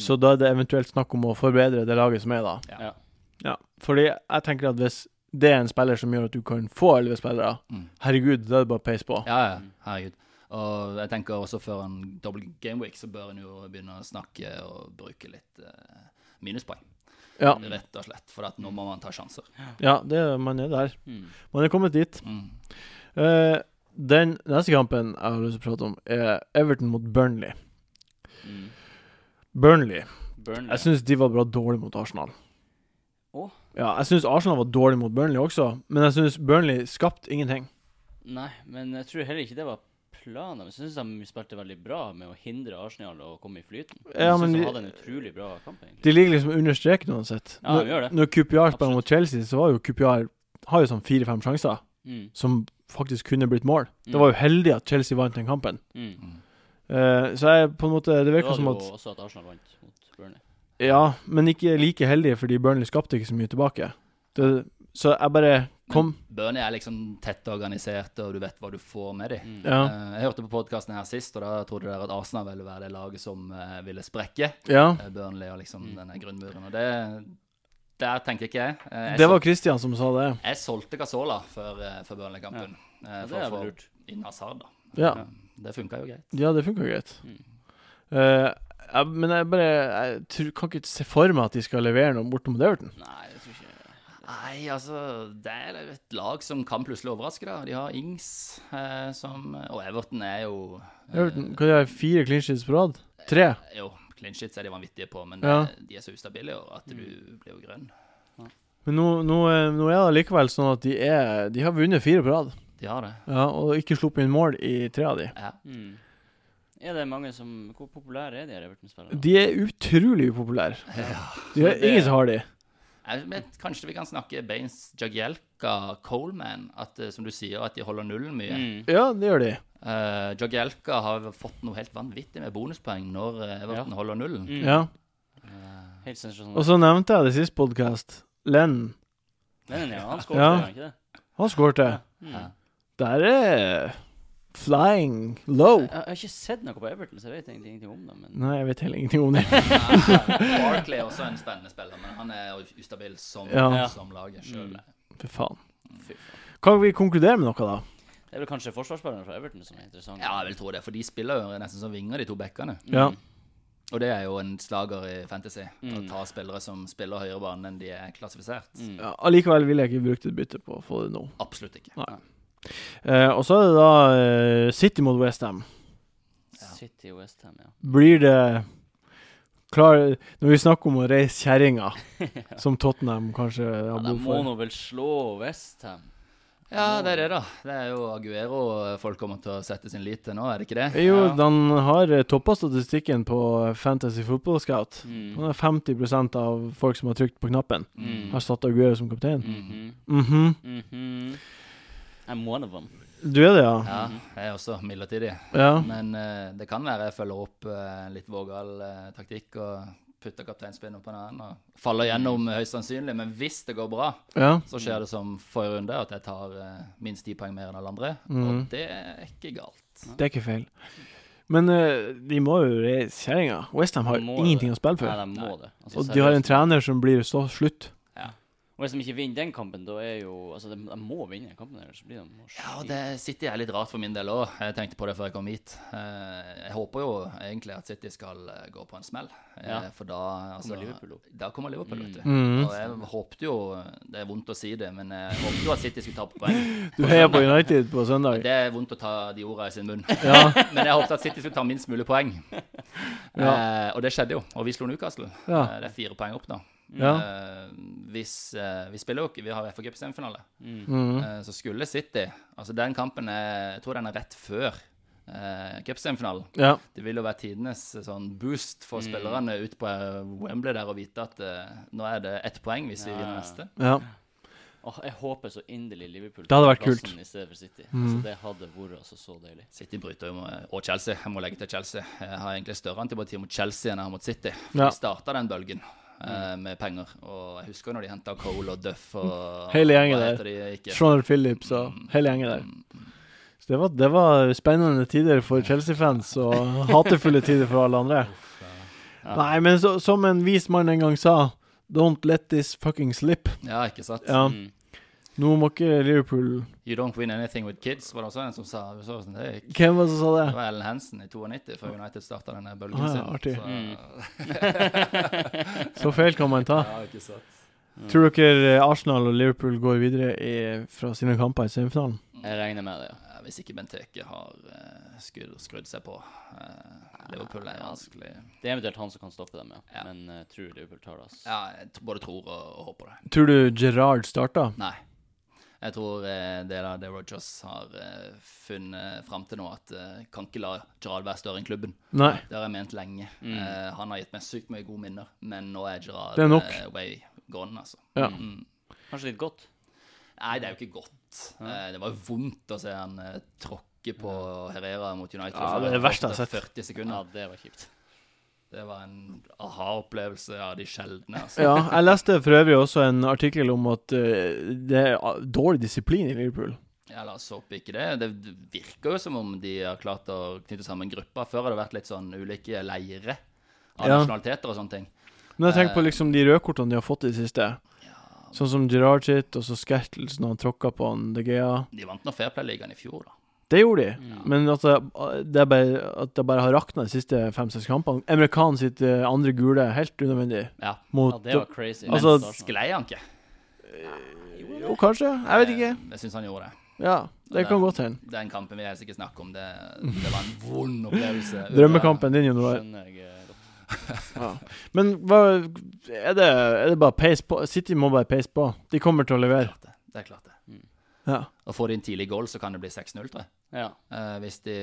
Speaker 1: så da er det eventuelt snakk om å forbedre det laget som er, da?
Speaker 4: Ja.
Speaker 3: Mm. Ja.
Speaker 1: Ja, fordi jeg tenker at hvis det er en spiller som gjør at du kan få elleve spillere,
Speaker 4: Mm.
Speaker 1: herregud, da er det bare peis på.
Speaker 4: Ja, ja. Herregud. Og jeg tenker også før en dobbel gameweek, så bør en jo begynne å snakke og bruke litt eh, minuspoeng.
Speaker 1: Ja,
Speaker 3: Mm.
Speaker 4: Rett og slett. For at nå må man ta sjanser.
Speaker 1: ja det, man er der.
Speaker 3: Mm.
Speaker 1: Man er kommet dit.
Speaker 4: Mm.
Speaker 1: Eh, den neste kampen jeg har lyst til å prate om, er Everton mot Burnley.
Speaker 3: Mm.
Speaker 1: Burnley.
Speaker 3: Burnley.
Speaker 1: Jeg syns de var bra dårlig mot Arsenal.
Speaker 3: Mm. Å?
Speaker 1: Ja, jeg syns Arsenal var dårlig mot Burnley også, men jeg syns Burnley skapte ingenting.
Speaker 3: Nei, men jeg tror heller ikke det var planen. Men Jeg syns de spilte veldig bra med å hindre Arsenal å komme i flyten.
Speaker 1: Ja,
Speaker 3: jeg
Speaker 1: men
Speaker 3: synes de
Speaker 1: de-
Speaker 3: hadde en utrolig bra kamp, egentlig.
Speaker 1: De ligger liksom under streken uansett.
Speaker 3: Ja, de gjør det.
Speaker 1: Når, når QPR spiller
Speaker 3: Absolutt.
Speaker 1: mot Chelsea, så var jo QPR har jo sånn fire-fem sjanser
Speaker 3: Mm.
Speaker 1: som faktisk kunne blitt mål.
Speaker 3: Mm.
Speaker 1: Det var jo heldig at Chelsea vant den kampen.
Speaker 3: Mm.
Speaker 1: Eh, så jeg på en måte Det
Speaker 3: Det
Speaker 1: virker
Speaker 3: var
Speaker 1: som
Speaker 3: jo
Speaker 1: at
Speaker 3: også at Arsenal vant mot Burnley.
Speaker 1: Ja, men ikke like heldige, fordi Burnley skapte ikke så mye tilbake. Det, så jeg bare kom
Speaker 4: Burnley er liksom tett organiserte, og du vet hva du får med dem.
Speaker 3: Mm.
Speaker 1: Ja.
Speaker 3: Eh,
Speaker 4: Eh, Jeg hørte på podkasten her sist, og da trodde dere at Arsenal ville være det laget som eh, ville sprekke
Speaker 1: ja.
Speaker 4: eh, Burnley og
Speaker 3: Mm.
Speaker 4: liksom denne grunnmuren. Og det Der tenker ikke jeg. Eh, Jeg,
Speaker 1: Det var
Speaker 4: sol-
Speaker 1: Christian som sa det.
Speaker 4: jeg solgte Casola før, eh, før Burnley-kampen. eh,
Speaker 3: det
Speaker 4: for
Speaker 3: er vel
Speaker 4: å få
Speaker 3: lurt.
Speaker 4: inn Hazard, da.
Speaker 1: Ja,
Speaker 4: Eh, Det funka jo greit.
Speaker 1: ja det funka greit.
Speaker 3: Mm.
Speaker 1: Eh, jeg, men jeg bare Jeg tror, kan ikke se for meg at de skal levere noe bortom Everton.
Speaker 3: Nei, jeg tror ikke
Speaker 4: Nei, altså Det er et lag som kan plutselig overraske, da. De har Ings eh, som Og Everton er jo
Speaker 1: Everton hva de har fire clean sheets på rad? Tre?
Speaker 4: Jo, clean shits er de vanvittige på, men
Speaker 1: Ja.
Speaker 4: eh, de er så ustabile jo, at du
Speaker 3: Mm.
Speaker 4: blir jo grønn.
Speaker 1: Men nå, nå, eh, nå er det likevel sånn at de er De har vunnet fire på rad,
Speaker 4: De har det.
Speaker 1: ja, og ikke sluppet inn mål i tre av de.
Speaker 4: Ja.
Speaker 3: Mm. Er det mange som Hvor populære er de her Everton-spillerne?
Speaker 1: De er utrolig upopulære. De
Speaker 3: Så
Speaker 1: er,
Speaker 3: det-
Speaker 1: ingen som har de.
Speaker 4: Jeg vet, kanskje vi kan snakke Baines, Jagielka, Coleman, at, eh, som du sier, at de holder nullen mye.
Speaker 3: Mm.
Speaker 1: Ja, det gjør de.
Speaker 4: Eh, Jagielka har fått noe helt vanvittig med bonuspoeng når eh, Everton
Speaker 3: Ja.
Speaker 4: holder nullen.
Speaker 3: Mm.
Speaker 1: Ja.
Speaker 3: Helt sensasjonelt.
Speaker 1: Og så nevnte jeg det siste podkast. Len.
Speaker 3: Nei, nei, nei, han skåret,
Speaker 1: Ja.
Speaker 3: gjorde han ikke det?
Speaker 1: Han skårte.
Speaker 3: Mm.
Speaker 4: Ja.
Speaker 1: Der er eh, flying low.
Speaker 3: Jeg, jeg har ikke sett noe på Everton, så jeg vet egentlig ingenting om dem. Men
Speaker 1: Nei, jeg vet heller ingenting om det.
Speaker 4: Barkley er også en spennende spiller, men han er jo ustabil som,
Speaker 1: Ja.
Speaker 4: som laget sjøl.
Speaker 1: Fy faen.
Speaker 3: Mm. fy faen.
Speaker 1: Kan vi konkludere med noe, da?
Speaker 3: Det er vel kanskje forsvarsspillerne fra Everton som er interessant.
Speaker 4: Ja, jeg vil tro det, for de spiller jo nesten som vinger, de to backene.
Speaker 1: Ja.
Speaker 4: Og det er jo en slager i fantasy. Å
Speaker 3: Mm.
Speaker 4: ta spillere som spiller høyere bane enn de er klassifisert.
Speaker 1: Ja, Allikevel ville jeg ikke brukt et bytte på å få det nå.
Speaker 4: Absolutt ikke.
Speaker 1: Eh, og så er det da eh, City mot Westham.
Speaker 3: City og West Ham, ja.
Speaker 1: Blir det klar, Når vi snakker om å reise kjerringa, som Tottenham kanskje har
Speaker 3: De
Speaker 1: behov
Speaker 3: må
Speaker 1: for
Speaker 3: nå vel slå West Ham.
Speaker 4: Ja, det er det, da. Det er jo Aguero eh, folk kommer til å sette sin lit til nå, er det ikke det?
Speaker 1: Jo, han har toppa statistikken på Fantasy Football Scout.
Speaker 3: Mm.
Speaker 1: Han har 50 av folk som har trykt på knappen,
Speaker 3: Mm.
Speaker 1: har satt Aguero som kaptein.
Speaker 3: Mhm.
Speaker 1: Mhm.
Speaker 3: Mhm. I'm one of them.
Speaker 1: Du er det, ja?
Speaker 4: Ja, jeg er også midlertidig.
Speaker 1: Ja.
Speaker 4: Men eh, det kan være jeg følger opp eh, en litt vågal eh, taktikk og putter kapteinspinnen på en annen og faller gjennom eh, høyst sannsynlig. Men hvis det går bra,
Speaker 1: ja.
Speaker 4: så skjer det som forrige runde, at jeg tar eh, minst ti poeng mer enn alle andre. Og det er ikke galt.
Speaker 1: Det er ikke feil. Men eh, de må jo reise kjerringa. Westham har
Speaker 3: De må jo
Speaker 1: ingenting å spille
Speaker 3: Nei,
Speaker 1: for.
Speaker 3: de må det. Altså,
Speaker 1: Og de har en
Speaker 3: seriøst.
Speaker 1: trener som blir så slutt.
Speaker 3: Og hvis de ikke vinner den kampen, da er jo Altså, de, de må vinne den kampen, ellers blir de
Speaker 4: Ja, og det City er litt rart for min del òg. Jeg tenkte på det før jeg kom hit. Eh, Jeg håper jo egentlig at City skal eh, gå på en smell, Eh,
Speaker 3: Ja.
Speaker 4: for da altså,
Speaker 3: Kommer Liverpool opp.
Speaker 4: Da kommer Liverpool, vet du.
Speaker 1: Mm.
Speaker 4: Og jeg håpte jo Det er vondt å si det, men jeg håpte jo at City skulle tape poeng.
Speaker 1: Du heier på United på søndag.
Speaker 4: Det er vondt å ta de ordene i sin munn.
Speaker 1: Ja.
Speaker 4: Men jeg håpte at City skulle ta minst mulig poeng. Eh, og det skjedde jo. Og vi slo Newcastle.
Speaker 1: Ja.
Speaker 4: Eh, det er fire poeng opp nå.
Speaker 1: Ja.
Speaker 4: Eh, hvis eh, Vi spiller jo ikke Vi har FA Cup-semifinale.
Speaker 1: Mhm.
Speaker 4: Eh, så skulle City Altså, den kampen er, Jeg tror den er rett før eh, cupsemifinalen.
Speaker 1: ja.
Speaker 4: Det vil jo være tidenes eh, sånn boost
Speaker 1: Mm.
Speaker 4: for spillerne ut på eh, Wembley der og vite at eh, nå er det ett poeng hvis vi
Speaker 3: Ja,
Speaker 4: vinner
Speaker 3: ja.
Speaker 4: neste.
Speaker 1: ja.
Speaker 3: Åh, jeg håper så inderlig Liverpool
Speaker 1: Det hadde vært
Speaker 3: tar plassen
Speaker 1: kult. Mm.
Speaker 3: I stedet for City. Altså, det hadde vært altså så deilig.
Speaker 4: City bryter jo med- og Chelsea. Jeg må legge til Chelsea. Jeg har egentlig større antipati mot Chelsea enn jeg har mot City. For
Speaker 1: Ja. Mm.
Speaker 4: De starta den bølgen eh, med penger. Og jeg husker når de henta Cole og Duff og
Speaker 1: Hele gjengen
Speaker 4: hva
Speaker 1: der.
Speaker 4: heter De ikke? Mm.
Speaker 1: Sean Phillips og
Speaker 3: Mm.
Speaker 1: hele gjengen der. Så det var, det var spennende tider for Chelsea-fans, og hatefulle tider for alle andre. Nei, men så, som en vis mann en gang sa, don't let this fucking slip.
Speaker 4: Ja, ikke sant?
Speaker 1: Ja.
Speaker 3: Mm.
Speaker 1: Nå må ikke Liverpool
Speaker 4: You don't win anything with kids, var det også en som sa. Vi så hvordan det gikk.
Speaker 1: Hvem var det som sa
Speaker 4: Det
Speaker 1: det?
Speaker 4: var Ellen Hansen i 92, før United starta denne bølgen
Speaker 1: Ah, ja,
Speaker 4: sin.
Speaker 1: artig.
Speaker 4: Så, eh,
Speaker 1: Så feil kan man ta.
Speaker 4: ja, ikke sant.
Speaker 1: Tror dere eh, Arsenal og Liverpool går videre i, fra sine kamper i semifinalen?
Speaker 3: Jeg regner med det, ja.
Speaker 4: Ja, Hvis ikke Benteke har eh, skrudd, skrudd seg på. eh, Liverpool er vanskelig.
Speaker 3: Det er eventuelt han som kan stoppe dem, ja.
Speaker 4: Ja.
Speaker 3: Men eh, jeg tror Liverpool tar det. Altså.
Speaker 4: Ja, jeg t- både tror og, og håper det.
Speaker 1: Tror du Gerrard starta?
Speaker 4: Nei. Jeg tror eh, det er det Rogers har eh, funnet fram til nå, at eh, kan ikke la Gerard være større enn klubben.
Speaker 1: Nei.
Speaker 4: Det har jeg ment lenge.
Speaker 3: Mm.
Speaker 4: Eh, han har gitt meg sykt mye gode minner, men nå er Gerard
Speaker 1: Det er nok.
Speaker 4: eh, way gone, altså.
Speaker 1: Ja.
Speaker 4: Mm.
Speaker 3: Kanskje litt godt.
Speaker 4: Nei, det er jo ikke godt. Eh, Det var jo vondt å se han eh, tråkke på Herrera mot United.
Speaker 1: Ja,
Speaker 4: for
Speaker 1: det er altså. det verste jeg har sett.
Speaker 4: 40
Speaker 3: Ja,
Speaker 4: sekunder.
Speaker 3: det var kjipt.
Speaker 4: Det var en aha-opplevelse av de sjeldne. Altså.
Speaker 1: Ja, jeg leste for øvrig også en artikkel om at eh, det er ah, dårlig disiplin i Liverpool.
Speaker 4: Ja, la oss håpe ikke det. Det virker jo som om de har klart å knytte sammen grupper. Før har det vært litt sånn ulike leire av
Speaker 1: Ja.
Speaker 4: nasjonaliteter og sånne ting.
Speaker 1: Men jeg tenker på liksom de rødkortene de har fått i det siste. Sånn som Gerrard sitt, og så Skertels når han tråkka på han De Gea.
Speaker 4: De vant nå Fairplay-ligaen i fjor, da.
Speaker 1: Det gjorde de,
Speaker 3: Mm.
Speaker 1: men at det, det, er bare, at det bare har rakna de siste fem-seks kampene. Emre Khan sitt eh, andre gule, helt unødvendig.
Speaker 4: Ja.
Speaker 1: Mot
Speaker 3: Ja, det var crazy. Men
Speaker 1: Altså,
Speaker 3: Arsenal-
Speaker 4: Sklei han ikke?
Speaker 1: Jo, kanskje. Jeg vet ikke.
Speaker 4: Eh, Jeg syns han gjorde det.
Speaker 1: Ja. Det kan godt hende.
Speaker 4: Den kampen vil jeg sikkert snakke om. Det, det var en vond opplevelse.
Speaker 1: Drømmekampen din, Januar.
Speaker 3: Skjønner jeg eh, godt.
Speaker 1: Ja. Men hva er det, er det bare peis på? City må bare peise på. De kommer til å levere.
Speaker 4: Klart det. Det er klart det.
Speaker 1: Ja.
Speaker 4: Og får de en tidlig goal, så kan det bli 6-0, tror jeg.
Speaker 3: Ja.
Speaker 4: Eh, hvis, de,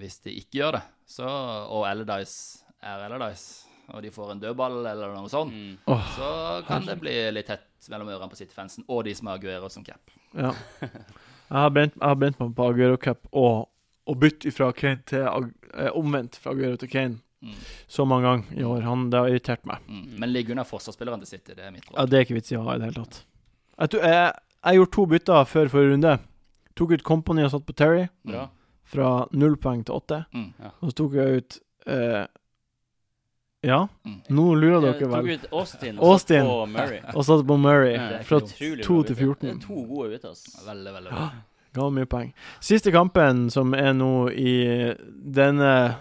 Speaker 4: hvis de ikke gjør det, så Og Allardyce er Allardyce, og de får en dødball eller noe
Speaker 1: Sånn.
Speaker 4: sånt,
Speaker 3: Mm.
Speaker 4: så kan det bli litt tett mellom ørene på City-fansen og de som har Aguero som cap.
Speaker 1: ja. Jeg har brent, jeg har brent meg på Aguero Cup og, og bytt fra Kane til Ag eh, omvendt fra Aguero til Kane
Speaker 4: Mm.
Speaker 1: så mange ganger i år. Han, det har irritert meg.
Speaker 4: Mm. Men ligge under forsvarsspilleren til City, det er mitt
Speaker 1: Ja,
Speaker 4: råd.
Speaker 1: det er ikke vits i å ha i det hele tatt. Jeg, tror, jeg, jeg gjorde to bytter før forrige runde. Tok ut Company og satt på Terry,
Speaker 3: Bra.
Speaker 1: fra null poeng til åtte.
Speaker 4: Mm.
Speaker 1: Og så tok jeg ut eh, Ja,
Speaker 4: Mm.
Speaker 1: nå lurer
Speaker 3: Jeg
Speaker 1: dere vel.
Speaker 3: Eh, Tok ut Austin og satt
Speaker 1: Austin.
Speaker 3: på Murray.
Speaker 1: Og satt på Murray
Speaker 3: Ja, det er
Speaker 1: fra
Speaker 4: ikke
Speaker 3: Utrolig
Speaker 1: 2
Speaker 3: bra
Speaker 1: til
Speaker 3: bytte.
Speaker 1: 14.
Speaker 3: Det er To gode bytter, ass.
Speaker 4: Veldig, veldig bra.
Speaker 1: Ga mye poeng. Siste kampen som er nå i denne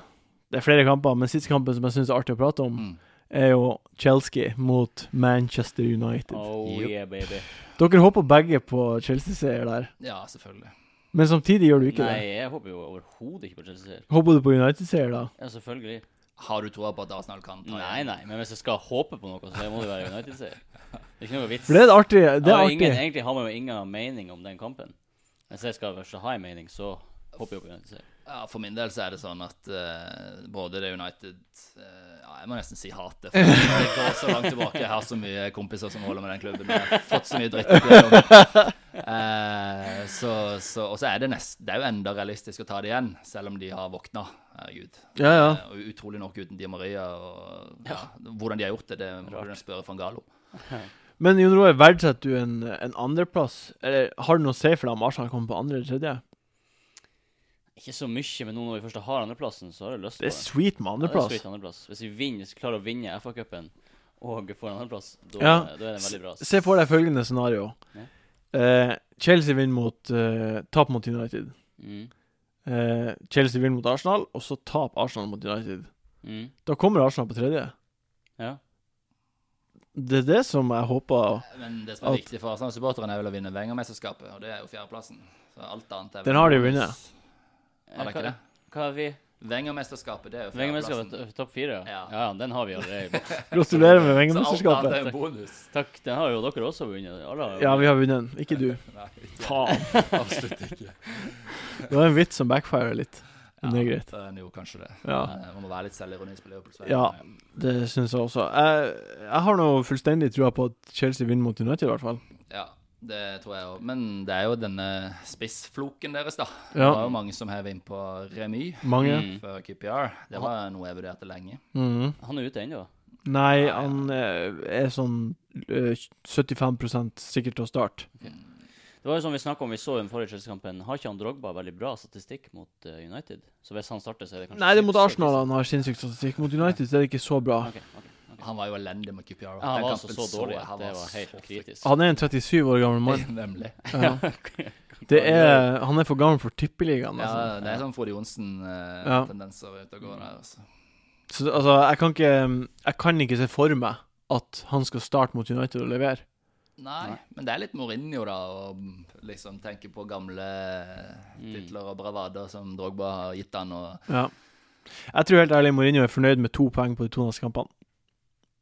Speaker 1: Det er flere kamper, men siste kampen som jeg syns er artig å prate om,
Speaker 4: Mm.
Speaker 1: er jo Chelsea mot Manchester United.
Speaker 3: Oh
Speaker 4: Yep.
Speaker 3: yeah, baby.
Speaker 1: Dere håper begge på Chelsea-seier der,
Speaker 4: Ja, selvfølgelig.
Speaker 1: men samtidig gjør du ikke
Speaker 3: Nei,
Speaker 1: det.
Speaker 3: jeg håper jo overhodet ikke på Chelsea.
Speaker 1: Håper du på United-seier, da?
Speaker 3: Ja, selvfølgelig.
Speaker 4: Har du troa på at Arsenal kan ta
Speaker 3: Nei, nei, men hvis jeg skal håpe på noe, så må det være United-seier. Det er ikke noe vits.
Speaker 1: For det er et artig. Det
Speaker 3: Ja,
Speaker 1: er
Speaker 3: ingen,
Speaker 1: artig.
Speaker 3: egentlig har man jo ingen mening om den kampen. Hvis jeg skal først ha en mening, så håper jeg på United-seier.
Speaker 4: Ja, For min del så er det sånn at eh, både det United eh, Ja, jeg må nesten si hatet. For det går så langt tilbake. Jeg har så mye kompiser som holder med den klubben. Jeg har fått så mye dritt. opp igjennom. Eh, så, så, og så er det nest, Det er jo enda realistisk å ta det igjen, selv om de har våkna. Herregud.
Speaker 1: Ja, ja.
Speaker 4: Eh, og utrolig nok uten Di Maria. Og, ja, hvordan de har gjort det, det må du spørre van Galo.
Speaker 1: Men Jon Roar, verdsetter du en, en andreplass? Eller har du noe å si for deg om Arsenal kommer på andre eller tredje?
Speaker 3: Ikke så mye, men nå når vi først har andreplassen, så har jeg lyst på
Speaker 1: Det
Speaker 3: det.
Speaker 1: er sweet med
Speaker 3: Ja, det er
Speaker 1: andreplass.
Speaker 3: sweet andreplass. Hvis vi vinner, hvis vi klarer å vinne FA-cupen og får andreplass, da,
Speaker 1: Ja.
Speaker 3: da er det veldig bra. ass.
Speaker 1: Se for deg følgende scenario.
Speaker 3: Ja.
Speaker 1: Eh, Chelsea vinner mot eh, Tap mot United.
Speaker 3: Mm.
Speaker 1: Eh, Chelsea vinner mot Arsenal, og så taper Arsenal mot United.
Speaker 3: Mm.
Speaker 1: Da kommer Arsenal på tredje.
Speaker 3: Ja.
Speaker 1: Det er det som jeg håper
Speaker 4: Men det som er
Speaker 1: Alt.
Speaker 4: viktig for Arsenal-supporterne, er vel å vinne Wenger-mesterskapet, og det er jo fjerdeplassen. Så alt annet er vel
Speaker 1: Den har de jo vunnet.
Speaker 4: Har de ikke det?
Speaker 3: Eh, Hva har vi?
Speaker 4: Wenger-mesterskapet, det er jo fjerdeplassen.
Speaker 3: Vengemesterskapet topp fire? Ja.
Speaker 4: Ja.
Speaker 3: ja, den har vi allerede.
Speaker 1: Gratulerer med
Speaker 4: Så alt annet
Speaker 1: Wengermesterskapet.
Speaker 4: er en bonus.
Speaker 3: Takk. Den har jo dere også vunnet. Alle har jo
Speaker 1: Ja, vi har vunnet den. Ikke du.
Speaker 4: Nei,
Speaker 1: Faen.
Speaker 4: absolutt ikke.
Speaker 1: Det var en vits som backfirer litt. Men det er greit.
Speaker 4: Ja, den er jo kanskje det.
Speaker 1: Ja,
Speaker 4: Eh, Man må være litt selvironisk på Liverpools vei.
Speaker 1: Ja. det syns jeg også. Jeg, jeg har nå fullstendig trua på at Chelsea vinner mot United, i hvert fall.
Speaker 4: Ja, det tror jeg òg. Men det er jo denne spissfloken deres, da. Det
Speaker 1: Ja.
Speaker 4: var jo mange som hev inn på remis
Speaker 1: Mange.
Speaker 3: Mm.
Speaker 4: for QPR. Det var noe jeg vurderte lenge.
Speaker 1: Mhm.
Speaker 3: Han er ute ennå.
Speaker 1: Nei, han eh, er sånn eh, 75 sikker til å starte.
Speaker 3: Det var jo som vi snakket om, vi så i den forrige Chelsea-kampen. Har ikke han Drogba veldig bra statistikk mot eh, United? Så hvis han starter, så er det kanskje
Speaker 1: Nei, det er mot
Speaker 3: ikke så-
Speaker 1: Arsenal han har sinnssyk statistikk. Mot United så er det ikke så bra.
Speaker 3: Ok, ok.
Speaker 4: Han var jo elendig med QPR.
Speaker 3: Ja, han
Speaker 4: Den
Speaker 3: var altså
Speaker 4: kampen
Speaker 3: så dårlig
Speaker 4: jeg.
Speaker 3: at
Speaker 4: Han
Speaker 3: det var
Speaker 4: så
Speaker 3: helt
Speaker 4: fryktelig
Speaker 3: kritisk.
Speaker 1: Han er en 37 år gammel mann.
Speaker 4: Nemlig.
Speaker 1: Ja. Det er, han er for gammel for tippeligaen.
Speaker 4: Ja,
Speaker 1: Altså.
Speaker 4: det er sånn Frode
Speaker 1: Ja.
Speaker 4: Johnsen-tendenser ute og går der. Altså.
Speaker 1: Så altså, jeg kan ikke Jeg kan ikke se for meg at han skal starte mot United og levere.
Speaker 4: Nei, men det er litt Mourinho, da, å liksom tenke på gamle titler og bravader som Drogba har gitt han, og
Speaker 1: Ja. Jeg tror helt ærlig Mourinho er fornøyd med to poeng på de to neste kampene.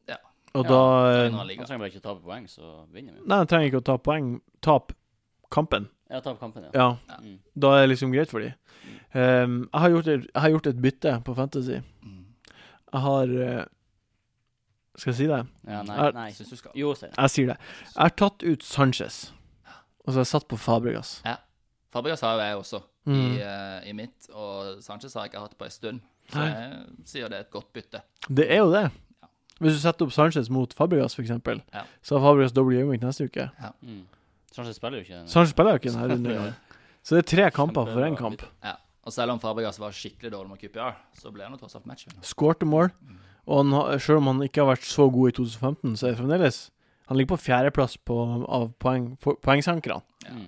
Speaker 4: Ja.
Speaker 1: Og
Speaker 3: Ja,
Speaker 1: da eh,
Speaker 4: vinner han
Speaker 3: Han
Speaker 4: ligaen.
Speaker 3: trenger bare ikke å tape poeng, så vinner vi.
Speaker 1: Nei, han trenger ikke å ta poeng. Tap kampen.
Speaker 3: Ja, tape kampen, ja.
Speaker 1: Ja.
Speaker 3: Mm.
Speaker 1: Da er det liksom greit for de. Ehm, jeg, har gjort et, jeg har gjort et bytte på Fantasy.
Speaker 4: Mm.
Speaker 1: Jeg har eh, Skal jeg si det?
Speaker 3: ja nei,
Speaker 1: Er-
Speaker 3: nei.
Speaker 4: Syns du skal.
Speaker 3: Jo, sier jeg.
Speaker 1: Jeg sier det. Jeg har tatt ut Sanchez, og så har jeg satt på Fabregas.
Speaker 4: Fabregas har jo jeg også i,
Speaker 1: Mm.
Speaker 4: eh, i mitt, og Sanchez har jeg ikke hatt på en stund. Så jeg sier det er et godt bytte.
Speaker 1: Det er jo det. Hvis du setter opp Sanchez mot Fabregas, f.eks.,
Speaker 4: Ja.
Speaker 1: så har Fabregas dobbel gameweek neste uke.
Speaker 3: Mm. Sanchez spiller jo ikke den.
Speaker 1: Sanchez spiller jo ikke denne runden engang. Så det er tre kamper for én kamp.
Speaker 4: Ja. Og selv om Fabregas var skikkelig dårlig med QPR, så ble han jo tross alt matchvinner.
Speaker 1: Skårte mål. Og han, har- selv om han ikke har vært så god i 2015, så er det fremdeles Han ligger på fjerdeplass på, av poeng, po- poengsankerne.
Speaker 3: Mm.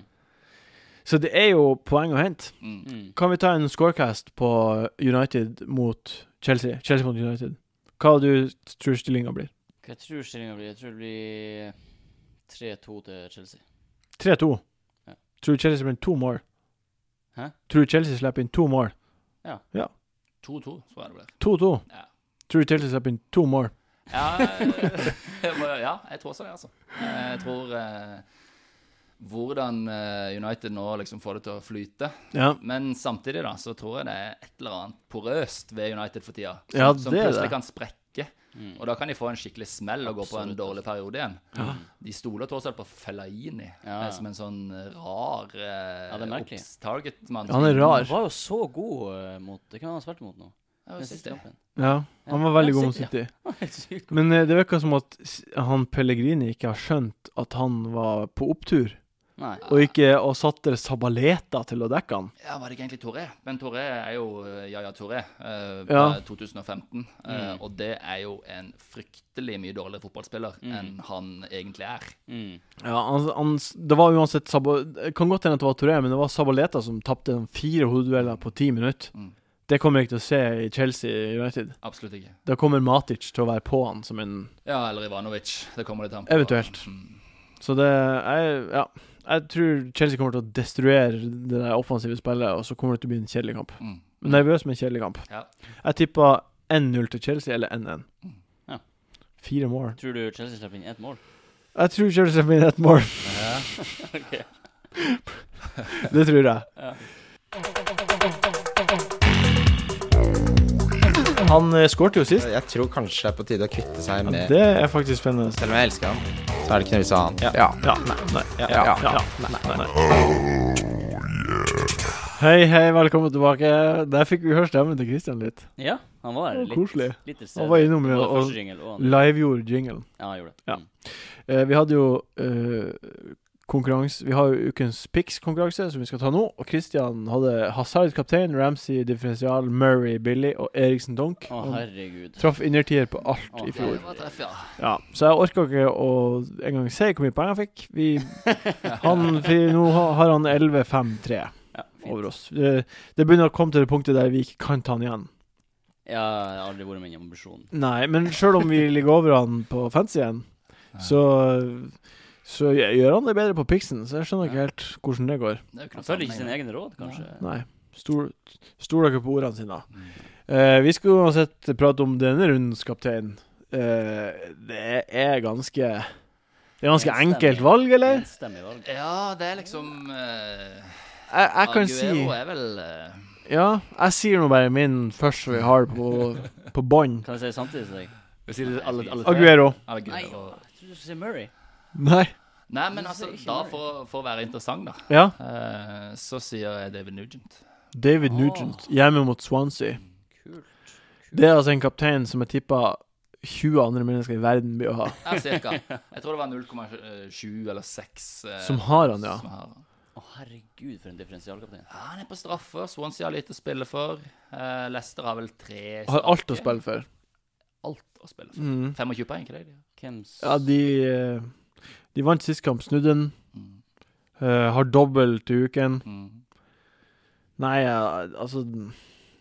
Speaker 1: Så det er jo poeng å hente.
Speaker 4: Mm.
Speaker 3: Mm.
Speaker 1: Kan vi ta en scorecast på United mot Chelsea? Chelsea mot United. Hva du tror stillinga blir?
Speaker 3: Hva jeg tror stillinga blir? Jeg tror det blir 3-2 til Chelsea.
Speaker 1: 3-2.
Speaker 3: Ja.
Speaker 1: Tror du Chelsea blir to mål?
Speaker 3: Hæ?
Speaker 1: Tror Chelsea slipper inn to mål.
Speaker 4: 2-2, tror jeg det ble.
Speaker 1: 2-2.
Speaker 4: Ja.
Speaker 1: Tror Chelsea slipper inn to mål.
Speaker 4: Ja, eh, jeg må- ja, jeg tror også det, altså. Jeg tror eh, hvordan eh, United nå liksom får det til å flyte.
Speaker 1: Ja.
Speaker 4: Men samtidig da, så tror jeg det er et eller annet porøst ved United for tida. Som,
Speaker 1: Ja,
Speaker 4: som
Speaker 1: det er
Speaker 4: plutselig
Speaker 1: det.
Speaker 4: kan sprekke.
Speaker 3: Mm.
Speaker 4: Og da kan de få en skikkelig smell og gå på en
Speaker 3: Absolutt,
Speaker 4: dårlig periode igjen. De stoler tross alt på Fellaini
Speaker 3: Ja,
Speaker 4: eh,
Speaker 3: ja.
Speaker 4: som en sånn rar eh,
Speaker 3: Ja, det er merkelig.
Speaker 4: obs- target-mann.
Speaker 1: Han er rar.
Speaker 3: Han var jo så god eh, mot Hvem har han spilt mot nå?
Speaker 4: Ja,
Speaker 3: Den
Speaker 4: jeg synes
Speaker 3: siste
Speaker 4: det.
Speaker 3: kampen.
Speaker 1: Ja. Han var veldig
Speaker 3: Ja,
Speaker 1: god mot
Speaker 3: sikkert,
Speaker 1: City.
Speaker 3: Helt sykt god.
Speaker 1: Men eh, det virker som at s- han Pellegrini ikke har skjønt at han var på opptur,
Speaker 3: Nei.
Speaker 1: og ikke og satte Sabaleta til å dekke han.
Speaker 4: Ja, var det ikke egentlig Toré? Men Toré er jo eh, Yaya Toré eh, fra
Speaker 1: Ja.
Speaker 4: 2015. eh,
Speaker 3: Mm.
Speaker 4: og det er jo en fryktelig mye dårligere fotballspiller enn han egentlig er.
Speaker 3: Mm.
Speaker 1: Ja, han, han, s- det var uansett Sabo, det Kan godt hende at det var Toré, men det var Sabaleta som tapte sånn fire hodedueller på ti minutter.
Speaker 4: Mm.
Speaker 1: Det kommer jeg ikke til å se i Chelsea United.
Speaker 4: Absolutt ikke.
Speaker 1: Da kommer Matic til å være på han som en
Speaker 4: Ja, eller Ivanovic. Det kommer litt an på.
Speaker 1: Eventuelt.
Speaker 4: Mm.
Speaker 1: Så det jeg, Ja. Jeg tror Chelsea kommer til å destruere det der offensive spillet, og så kommer det til å bli en kjedelig kamp.
Speaker 4: Mm.
Speaker 1: Nervøs, men kjedelig kamp.
Speaker 4: Ja. Mm.
Speaker 1: Jeg tippa 1-0 til Chelsea, eller 1-1.
Speaker 3: Ja.
Speaker 1: Fire mål.
Speaker 3: Tror du Chelsea slipper inn ett mål?
Speaker 1: Jeg tror Chelsea vinner ett mål.
Speaker 4: Ja.
Speaker 1: Det tror jeg. Han eh, skårte jo sist.
Speaker 2: Jeg tror kanskje det er på tide å kvitte seg med
Speaker 1: Det er faktisk spennende.
Speaker 2: Selv om jeg elsker han, så er det ikke noe vits i å ha han. Ja.
Speaker 1: Ja, nei, nei, ja, ja, nei, nei, nei. Hei, hei, velkommen tilbake. Der fikk vi høre stemmen til Christian litt.
Speaker 3: Ja, han var her.
Speaker 1: Å,
Speaker 3: Litt,
Speaker 1: koselig.
Speaker 3: Litt til
Speaker 1: Han var innom
Speaker 3: Både
Speaker 1: og-
Speaker 3: første jingle og andre.
Speaker 1: Livegjorde jinglen.
Speaker 3: Ja, han gjorde det.
Speaker 1: Ja.
Speaker 3: Mm.
Speaker 1: Eh, vi hadde jo eh, konkurranse Vi har jo ukens Pix-konkurranse, som vi skal ta nå. Og Christian hadde Hazard kaptein, Ramsey differensial, Murray Billy og Eriksen Donk.
Speaker 3: Å,
Speaker 1: Han
Speaker 3: herregud.
Speaker 1: traff innertier på alt
Speaker 3: Å,
Speaker 1: i
Speaker 4: Ja,
Speaker 1: fjor.
Speaker 4: det var treff, ja.
Speaker 1: Ja, så jeg orka ikke å engang si hvor mye penger han fikk. Vi, han, fi- nå ha- har han 11-5-3
Speaker 3: Ja, fint.
Speaker 1: over oss. Det, det begynner å komme til det punktet der vi ikke kan ta han igjen.
Speaker 3: Ja, det har aldri vært min ambisjon.
Speaker 1: Nei, men sjøl om vi ligger over han på fancy igjen, så, så gjør han det bedre på Pixen. Så jeg skjønner ikke helt hvordan det går.
Speaker 4: Det er jo ikke
Speaker 3: Han
Speaker 4: noe
Speaker 3: følger ikke sine
Speaker 4: sammenheng.
Speaker 3: egne råd, kanskje.
Speaker 1: Nei. Stol, stol dere på ordene sine. Eh, vi skal uansett prate om denne rundens kaptein. Eh, det er ganske Det er ganske
Speaker 3: Enstemmig.
Speaker 1: enkelt valg, eller?
Speaker 3: Enstemmig valg.
Speaker 4: Ja, det er liksom eh,
Speaker 1: Jeg, jeg kan si
Speaker 4: Aguero er vel eh,
Speaker 1: Ja, jeg sier nå bare min først, så vi har det på, på bånd.
Speaker 3: Kan jeg si det samtidig som deg?
Speaker 4: vi sier alle, alle tre.
Speaker 1: Aguero.
Speaker 3: Nei,
Speaker 4: Aguero.
Speaker 3: å, jeg trodde du skulle si Murray.
Speaker 1: Nei.
Speaker 4: Nei, men altså, da for, å- for å være interessant, da,
Speaker 1: Ja.
Speaker 4: eh, så sier jeg David Nugent.
Speaker 1: David Nugent, hjemme mot Swansea.
Speaker 3: Kult.
Speaker 1: Det er altså en kaptein som jeg tippa 20 andre mennesker i verden blir å ha.
Speaker 4: Ja, cirka. Jeg tror det var 0,7 eller 6. eh,
Speaker 1: Som har han, ja.
Speaker 4: som har han.
Speaker 3: Å, herregud, for en differensialkaptein.
Speaker 4: Ja, han er på straffe. Swansea har litt å spille for. Eh, Leicester har vel tre
Speaker 1: Har alt å spille for.
Speaker 4: Alt å spille for.
Speaker 1: Mm.
Speaker 4: 25 poeng, ikke det? de har?
Speaker 3: Hvem s-
Speaker 1: Ja, de eh, De vant sist kamp, snudde den. Eh, har dobbel til uken.
Speaker 4: Mm.
Speaker 1: Nei, eh, altså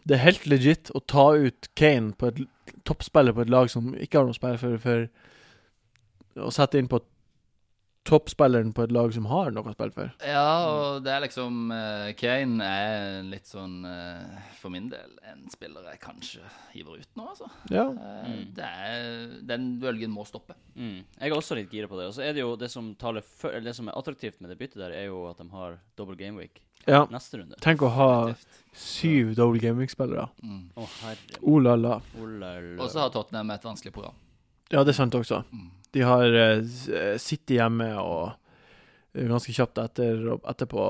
Speaker 1: Det er helt legit å ta ut Kane på et l- toppspiller på et lag som ikke har noe spill for, for å sette inn på toppspilleren på et lag som har noe å spille for.
Speaker 3: Mm.
Speaker 4: Ja, og det er liksom eh, Kane er litt sånn, eh, for min del, en spiller jeg kanskje hiver ut nå, altså.
Speaker 1: Ja.
Speaker 4: Eh, Det er, den bølgen må stoppe.
Speaker 3: Mm. Jeg er også litt gira på det. Og så er det jo det som taler for, eller det som er attraktivt med det byttet der, er jo at de har double game week
Speaker 1: ja.
Speaker 3: neste runde.
Speaker 1: Tenk å ha syv double gaming-spillere.
Speaker 4: Mm.
Speaker 3: Å, herre
Speaker 1: Oh la la.
Speaker 4: Og så har Tottenham et vanskelig program. Mm.
Speaker 1: Ja, det er sant også. De har eh, s- eh, City hjemme og eh, ganske kjapt etter, etterpå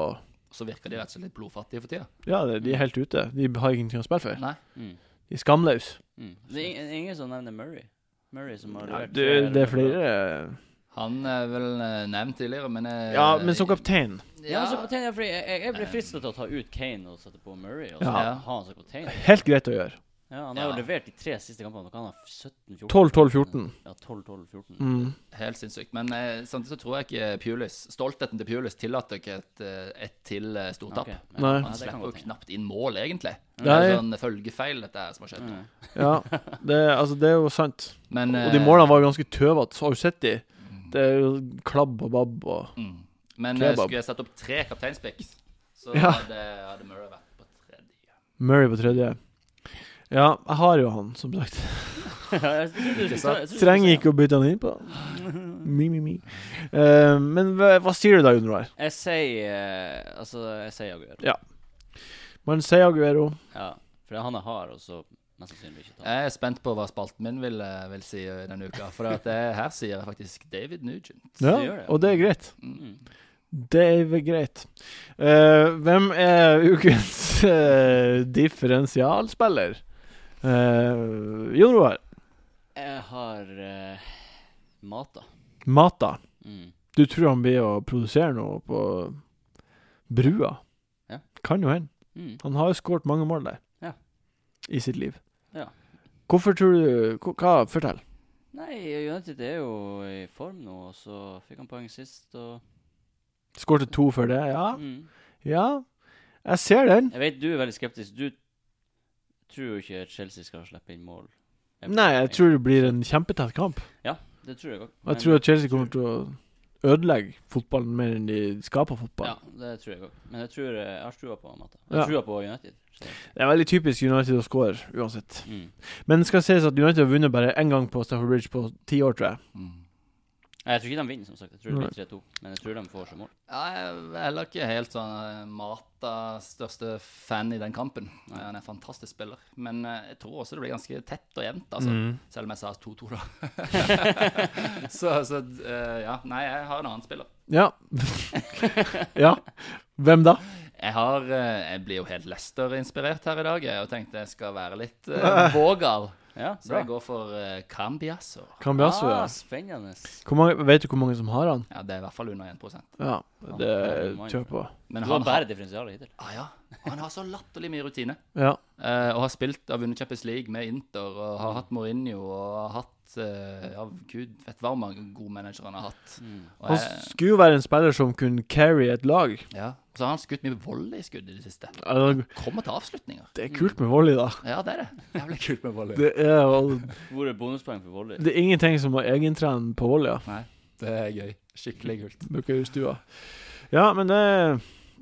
Speaker 4: Så virker de rett og slett litt blodfattige for tida.
Speaker 1: Ja, de de er helt ute. De har ingenting å spille for.
Speaker 4: Nei.
Speaker 3: Mm.
Speaker 1: De er skamløse.
Speaker 3: Mm. Det er ing- ingen som nevner Murray. Murray som har
Speaker 1: Ja,
Speaker 3: levert
Speaker 1: det,
Speaker 3: tre-
Speaker 1: det er flere eh,
Speaker 4: Han er vel eh, nevnt tidligere, men eh,
Speaker 1: Ja, men som kaptein
Speaker 3: Ja, men så kaptein, ja, fordi jeg, jeg- jeg blir fristet til å ta ut Kane og sette på Murray. Og så ha
Speaker 4: Ja.
Speaker 3: han som kaptein.
Speaker 1: Helt greit å gjøre.
Speaker 3: Ja, han har jo
Speaker 4: Ja.
Speaker 3: levert de tre siste kampene. og Han har 17-14.
Speaker 1: 12-12-14.
Speaker 3: Ja, 12-12-14.
Speaker 1: Mm.
Speaker 4: Helt sinnssykt. Men eh, samtidig så tror jeg ikke Pulis Stoltheten til Pulis tillater ikke et, eh, et til eh, stortap.
Speaker 3: Ok, ja.
Speaker 1: Nei.
Speaker 3: Ja,
Speaker 4: Han
Speaker 3: det kan
Speaker 4: slipper jo
Speaker 3: godt hende.
Speaker 4: knapt inn mål, egentlig. Det
Speaker 1: Nei.
Speaker 4: er jo sånn følgefeil, dette her som har skjedd.
Speaker 3: Mm.
Speaker 4: nå.
Speaker 1: Ja, det, altså, det er jo sant.
Speaker 4: Men,
Speaker 1: Og de
Speaker 4: eh,
Speaker 1: målene var jo ganske tøvete. Har du sett de? Det er jo klabb og babb og
Speaker 4: Men eh,
Speaker 1: Kebab.
Speaker 4: skulle jeg satt opp tre kapteinspicks, Så
Speaker 1: Ja.
Speaker 4: hadde, hadde Murray vært på tredje.
Speaker 1: Murray på tredje. Ja, jeg har jo han, som sagt.
Speaker 3: Jeg synes du skulle ta- jeg synes du skulle
Speaker 1: Trenger
Speaker 3: si
Speaker 1: ikke å bytte han innpå. Mi, mi, mi. Eh, men hva, hva sier du da, Gunnar?
Speaker 3: det. Jeg sier eh, Altså, jeg sier Aguero.
Speaker 1: Man sier Aguero.
Speaker 3: Ja. For han er hard, og så mest sannsynlig ikke tar.
Speaker 4: Jeg er spent på hva spalten min vil, eh, vil si i denne uka. For at det, her sier jeg faktisk David Nugent.
Speaker 1: Ja,
Speaker 3: gjør det.
Speaker 1: og det er greit.
Speaker 3: Mm.
Speaker 1: Det er vel greit. Eh, hvem er ukens eh, differensialspiller? Uh, Jon Roar.
Speaker 3: Jeg har eh, Mata.
Speaker 1: Mata.
Speaker 3: Mm.
Speaker 1: Du tror han blir å produsere noe på brua?
Speaker 3: Ja.
Speaker 1: Kan jo hende.
Speaker 3: Mm.
Speaker 1: Han har jo skåret mange mål der
Speaker 3: Ja.
Speaker 1: i sitt liv.
Speaker 3: Ja.
Speaker 1: Hvorfor tror du hva- Hva? Fortell.
Speaker 3: Nei, United er jo i form nå, og så fikk han poeng sist, og
Speaker 1: Skårte to før det? Ja.
Speaker 3: mm.
Speaker 1: Ja. Jeg ser den.
Speaker 3: Jeg vet du er veldig skeptisk. Du tror jo ikke Chelsea skal slippe inn mål.
Speaker 1: Nei, jeg tror det blir en kjempetett kamp.
Speaker 3: Det tror jeg òg.
Speaker 1: Jeg tror at Chelsea kommer til å ødelegge fotballen mer enn de skaper fotball.
Speaker 3: Ja, det tror jeg òg. Men jeg tror eh, jeg har trua på Mata. Jeg
Speaker 1: Ja.
Speaker 3: har trua på United. Så,
Speaker 1: Det er veldig typisk United å score, uansett.
Speaker 3: mm.
Speaker 1: Men det skal sies at United har vunnet bare én gang på Stafford Bridge på ti år, tror jeg.
Speaker 4: Mm.
Speaker 3: Nei, Jeg tror ikke de vinner, som sagt. Jeg tror det blir 3-2. Men jeg tror de får seg mål.
Speaker 4: Ja, jeg er heller ikke helt sånn eh, Mata største fan i den kampen. Eh, Han er en fantastisk spiller. Men eh, jeg tror også det blir ganske tett og
Speaker 1: Mm.
Speaker 4: jevnt, altså. Selv om jeg sa 2-2, da. så så eh, ja. Nei, jeg har en annen spiller.
Speaker 1: Ja. ja. Hvem da?
Speaker 4: Jeg, har, eh, jeg blir jo helt Lester-inspirert her i dag, jeg, og tenkte jeg skal være litt eh, vågal.
Speaker 3: Ja,
Speaker 4: Så jeg går for eh, Cambiasso.
Speaker 1: Cambiasso,
Speaker 3: ah,
Speaker 1: ja.
Speaker 3: Spennende.
Speaker 1: Hvor mange, vet du hvor mange som har han?
Speaker 4: Ja, det er i hvert fall under 1
Speaker 1: Ja, det
Speaker 3: det må jeg
Speaker 1: tror jeg på.
Speaker 4: Men
Speaker 3: Du har
Speaker 4: han har,
Speaker 3: bare differensialet hittil.
Speaker 4: ah, ja. han har så latterlig mye rutine.
Speaker 1: Ja.
Speaker 4: Eh, og har spilt og vunnet Champions League med Inter og har hatt Mourinho og har hatt eh, Ja, gud vet hva mange gode managere han har hatt.
Speaker 3: Mm.
Speaker 4: Og
Speaker 1: Han
Speaker 4: jeg,
Speaker 1: skulle jo være en spiller som kunne carry et lag.
Speaker 4: ja. Så har han skutt mye volleyskudd i det siste.
Speaker 1: Altså,
Speaker 4: Kommer til avslutninger.
Speaker 1: Det er kult med volley, da.
Speaker 4: Ja, det er det. Jævlig kult med volley.
Speaker 1: Det er, jo-
Speaker 3: Hvor er bonuspoeng for volley?
Speaker 1: det er ingenting som å egentrene på volley. Ja.
Speaker 4: Nei, det er gøy. Skikkelig kult.
Speaker 1: Bruker i stua. Ja, men det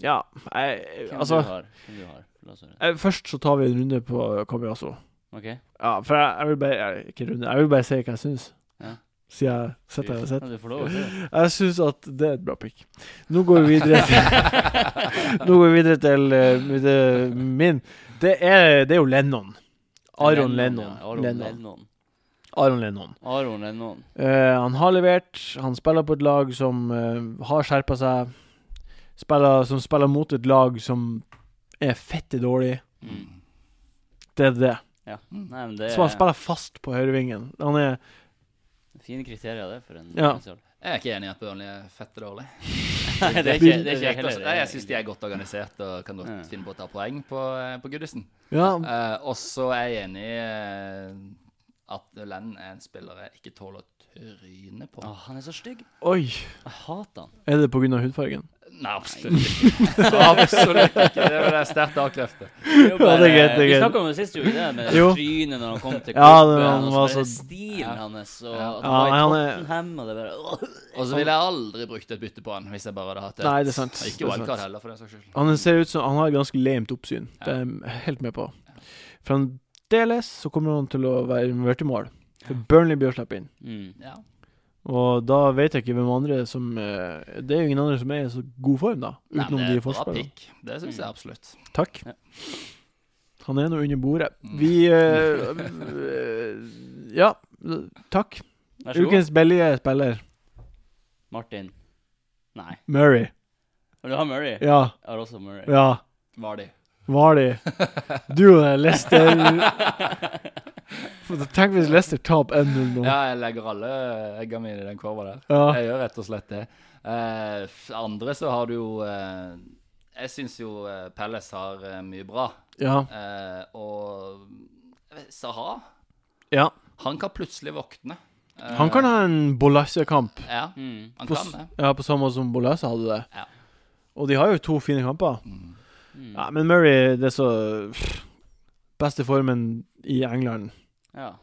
Speaker 1: Ja, jeg
Speaker 3: Hvem du
Speaker 1: Altså,
Speaker 3: har? Hvem du har? La oss høre.
Speaker 1: jeg, først så tar vi en runde på Cambiasso.
Speaker 3: OK?
Speaker 1: Ja, for jeg, jeg vil bare jeg, Ikke runde, jeg vil bare si hva jeg syns.
Speaker 3: Ja.
Speaker 1: Siden jeg sitter her og
Speaker 3: Ja,
Speaker 1: sitter.
Speaker 3: du får lov å si det.
Speaker 1: Jeg syns at det er et bra pick. Nå går vi videre til Nå går vi videre til eh, det- min. Det er, det er jo Lennon. Aron Lennon.
Speaker 3: ja. Aron
Speaker 1: Lennon.
Speaker 3: Lennon.
Speaker 1: Aron Lennon.
Speaker 3: Aron Lennon.
Speaker 1: Eh, han har levert. Han spiller på et lag som eh, har skjerpa seg. Spiller, som spiller mot et lag som er fette dårlig.
Speaker 3: Mm.
Speaker 1: Det er det.
Speaker 3: Ja. Nei, men det
Speaker 1: Så han
Speaker 3: er
Speaker 1: spiller fast på høyrevingen. Han er
Speaker 3: fine kriterier, det, for en
Speaker 1: Ja.
Speaker 3: differensial.
Speaker 4: Jeg er ikke enig i at Burnley er fette dårlig.
Speaker 3: Nei, det er ikke, det er ikke jeg heller.
Speaker 4: Nei, jeg syns de er godt organisert og kan godt
Speaker 3: Ja.
Speaker 4: finne på å ta poeng på, eh, på Goodison.
Speaker 1: Ja,
Speaker 4: Eh, og så er jeg enig i eh, at Lenn er en spiller jeg ikke tåler trynet på.
Speaker 3: Å, han er så stygg.
Speaker 1: oi.
Speaker 3: Jeg hater han.
Speaker 1: Er det på grunn av hudfargen?
Speaker 4: Nei, absolutt ikke. absolutt ikke. Det var det sterkt avkreftet.
Speaker 3: Det er jo
Speaker 1: Ja, det er
Speaker 3: bare-
Speaker 1: greit, det er
Speaker 3: Vi
Speaker 1: greit.
Speaker 3: snakka om det sist, jo. Det der med
Speaker 1: Jo.
Speaker 3: trynet når han kom til
Speaker 1: Ja,
Speaker 3: klubben,
Speaker 1: det- han var
Speaker 3: og så bare
Speaker 1: så-
Speaker 3: stilen hans, og at
Speaker 1: Ja,
Speaker 3: han var i
Speaker 1: han er-
Speaker 3: Tottenham, og det bare
Speaker 4: Og så ville jeg aldri brukt et bytte på han hvis jeg bare hadde hatt et.
Speaker 1: Nei, det er sant.
Speaker 4: Og
Speaker 1: Det er
Speaker 4: Ikke
Speaker 1: sant.
Speaker 4: wildcard heller, for den saks skyld.
Speaker 1: Han ser ut som han har et ganske lamet oppsyn. Det er jeg helt med på. Fremdeles så kommer han til å være involvert i mål. For Burnley blir å slippe inn.
Speaker 3: mm.
Speaker 4: Ja.
Speaker 1: Og da vet jeg ikke hvem andre som eh, Det er jo ingen andre som er i så god form, da.
Speaker 4: Nei,
Speaker 1: Utenom
Speaker 4: men
Speaker 1: de
Speaker 4: det er bra
Speaker 1: forspillerne.
Speaker 4: pick. Det
Speaker 3: Mm.
Speaker 4: syns jeg absolutt.
Speaker 1: Takk.
Speaker 3: Ja.
Speaker 1: Han er nå under bordet.
Speaker 4: Mm.
Speaker 1: Vi eh, eh, Ja, takk.
Speaker 3: Vær så god.
Speaker 1: Ukens billige spiller,
Speaker 3: Martin. Nei.
Speaker 1: Murray.
Speaker 3: Men du har Murray. Jeg
Speaker 1: Ja,
Speaker 3: har også Murray.
Speaker 1: ja.
Speaker 4: Vardy.
Speaker 1: Vardy. Du og Lester Tenk hvis Lester taper 1-0 nå.
Speaker 4: Ja, jeg legger alle egga mine i den kurva der.
Speaker 1: Ja.
Speaker 4: Jeg gjør rett og slett det. Eh, f- andre så har du jo eh, Jeg syns jo eh, Palace har eh, mye bra.
Speaker 1: Ja.
Speaker 4: Eh, og jeg vet, Saha,
Speaker 1: ja.
Speaker 4: han kan plutselig våkne. Eh,
Speaker 1: Han kan ha en Bolasse-kamp,
Speaker 4: Ja,
Speaker 3: Mm.
Speaker 4: han
Speaker 1: på,
Speaker 4: kan
Speaker 1: s-
Speaker 4: det.
Speaker 1: ja, på samme måte som Bolasse hadde det.
Speaker 4: Ja.
Speaker 1: Og de har jo to fine kamper.
Speaker 3: Mm.
Speaker 1: Ja, men Murray, det er så pff, Beste formen i England.
Speaker 3: Ja.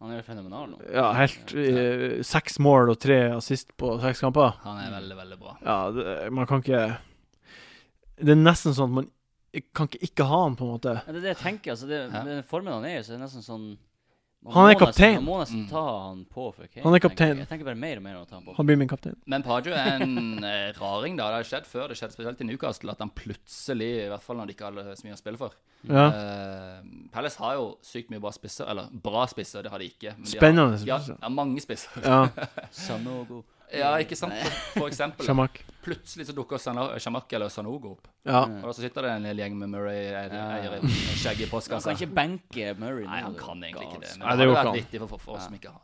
Speaker 3: Han er jo fenomenal nå.
Speaker 1: Ja, helt eh, Seks mål og tre assist på seks kamper.
Speaker 4: Han er veldig, veldig bra.
Speaker 1: Ja, det, man kan ikke Det er nesten sånn at man kan ikke ikke ha han, på en måte.
Speaker 3: Ja, det er det jeg tenker. altså det,
Speaker 4: Ja.
Speaker 3: med Formen han er i, så er det nesten sånn man
Speaker 1: Han er
Speaker 3: må
Speaker 1: kaptein.
Speaker 3: Nesten, man må nesten
Speaker 4: Mm.
Speaker 3: ta han på for Kane.
Speaker 1: Han er
Speaker 3: tenker jeg.
Speaker 1: kaptein.
Speaker 3: Jeg tenker bare mer og mer om å ta han på.
Speaker 1: Han blir min kaptein.
Speaker 4: Men Pajo er en eh, raring, da. Det har skjedd før. Det skjedde spesielt i Newcastle at han plutselig, i hvert fall når de ikke har så mye å spille for
Speaker 1: Ja.
Speaker 4: Eh, Palace har jo sykt mye bra spisser. Eller bra spisser, det har de ikke. Men de
Speaker 1: Spennende
Speaker 4: Har, de har,
Speaker 1: spisser.
Speaker 4: ja, mange spisser.
Speaker 1: Ja.
Speaker 3: Sanogo.
Speaker 4: Ja, ikke sant? For- For eksempel,
Speaker 1: Shamak.
Speaker 4: plutselig så dukker Shamak eller Sanogo opp.
Speaker 1: Ja.
Speaker 4: Og da så sitter det en lille gjeng med Murray eier
Speaker 3: Ja.
Speaker 4: eier i skjegg i
Speaker 3: Han
Speaker 4: postkassa.
Speaker 3: kan ikke benke Murray. nå,
Speaker 4: Nei, han
Speaker 3: det er
Speaker 4: kan egentlig ikke det.
Speaker 3: galskap.
Speaker 4: Men
Speaker 1: Nei,
Speaker 4: det
Speaker 1: det
Speaker 4: hadde
Speaker 1: går
Speaker 4: vært
Speaker 1: ikke
Speaker 4: vittig for, for, for oss som ikke har.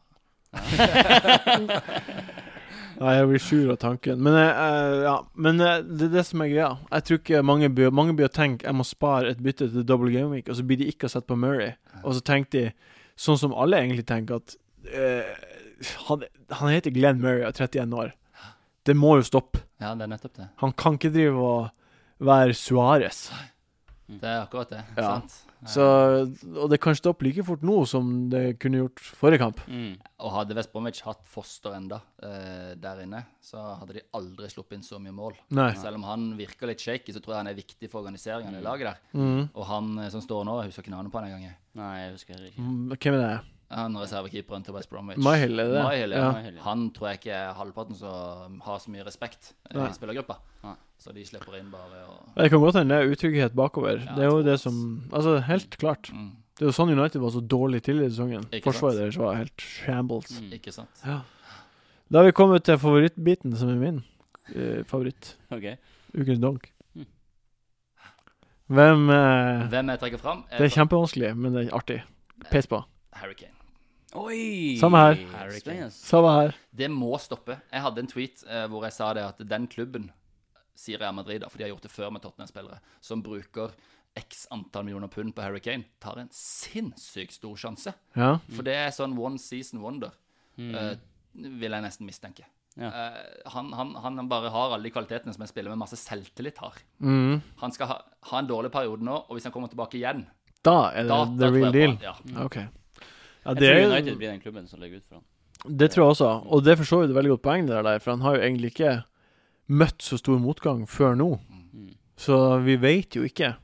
Speaker 1: Nei, jeg blir sur av tanken. Men, eh, ja. Men eh, det er det som er greia. Jeg tror ikke mange blir, mange blir å tenke Jeg må spare et bytte til double game week, og så blir de ikke sett på Murray. Og så tenker de, sånn som alle egentlig tenker, at eh, han, han heter Glenn Murray og er 31 år. Det må jo stoppe.
Speaker 4: Ja, det er nettopp det.
Speaker 1: Han kan ikke drive og være Suárez.
Speaker 4: Det er akkurat det.
Speaker 1: Ja.
Speaker 4: sant?
Speaker 1: Så, og det kan stoppe like fort nå som det kunne gjort forrige kamp.
Speaker 3: Mm.
Speaker 4: Og hadde West Bromwich hatt Foster enda eh, der inne, så hadde de aldri sluppet inn så mye mål.
Speaker 1: Nei.
Speaker 4: Selv om han virker litt shaky, så tror jeg han er viktig for organiseringen i laget der.
Speaker 1: Mm.
Speaker 4: Og han eh, som står nå, jeg husker ikke navnet på han engang. jeg.
Speaker 3: Nei, jeg husker heller ikke.
Speaker 1: Mm, Hvem er det?
Speaker 4: Han reservekeeperen til West Bromwich.
Speaker 1: Myhill, er det det?
Speaker 4: Myhill,
Speaker 1: Ja.
Speaker 4: ja.
Speaker 3: Myhill, ja.
Speaker 4: Han tror jeg ikke er halvparten som har så mye respekt eh,
Speaker 1: Nei.
Speaker 4: i spillergruppa.
Speaker 3: Nei.
Speaker 4: Så de slipper inn bare ved å
Speaker 1: Det kan godt hende det er utrygghet bakover.
Speaker 4: Ja,
Speaker 1: det er jo
Speaker 4: jeg tror
Speaker 1: det
Speaker 4: det.
Speaker 1: som Altså, helt klart.
Speaker 4: mm,
Speaker 1: Det er jo sånn United var så dårlig tidligere i sesongen.
Speaker 4: Ikke sant?
Speaker 1: Forsvaret deres var helt shambles.
Speaker 3: Mm.
Speaker 4: Ikke sant.
Speaker 1: Ja. Da har vi kommet til favorittbiten, som er min eh, favoritt.
Speaker 3: Ok.
Speaker 1: Ukens donk.
Speaker 3: Mm.
Speaker 1: Hvem eh,
Speaker 4: Hm. Hvem jeg trekker fram,
Speaker 1: Det er kjempevanskelig, men det er artig. Pes på.
Speaker 4: Harry Kane.
Speaker 3: Oi!
Speaker 1: Samme her.
Speaker 4: Harry Kane.
Speaker 3: Spennende.
Speaker 1: Samme her.
Speaker 4: Det må stoppe. Jeg hadde en tweet eh, hvor jeg sa det at den klubben, sier Real Madrid, da, for de har gjort det før med Tottenham-spillere, som bruker x antall millioner pund på Harry Kane, tar en sinnssykt stor sjanse.
Speaker 1: Ja.
Speaker 4: For det er sånn one season wonder,
Speaker 3: Mm.
Speaker 4: eh, vil jeg nesten mistenke.
Speaker 3: Ja.
Speaker 4: Eh, han, han, han bare har alle de kvalitetene som en spiller med masse selvtillit har.
Speaker 1: Mm.
Speaker 4: Han skal ha, ha en dårlig periode nå, og hvis han kommer tilbake igjen
Speaker 1: Da er det
Speaker 4: da, da
Speaker 1: Eh, the
Speaker 4: tror
Speaker 1: real
Speaker 4: jeg på
Speaker 1: deal.
Speaker 4: han. Ja.
Speaker 1: OK. Ja,
Speaker 3: Jeg tror
Speaker 1: det,
Speaker 3: United blir den klubben som legger ut for han.
Speaker 1: det tror jeg også, og det er for så vidt et veldig godt poeng, det der, for han har jo egentlig ikke møtt så stor motgang før nå.
Speaker 3: Mm.
Speaker 1: Så vi vet jo ikke.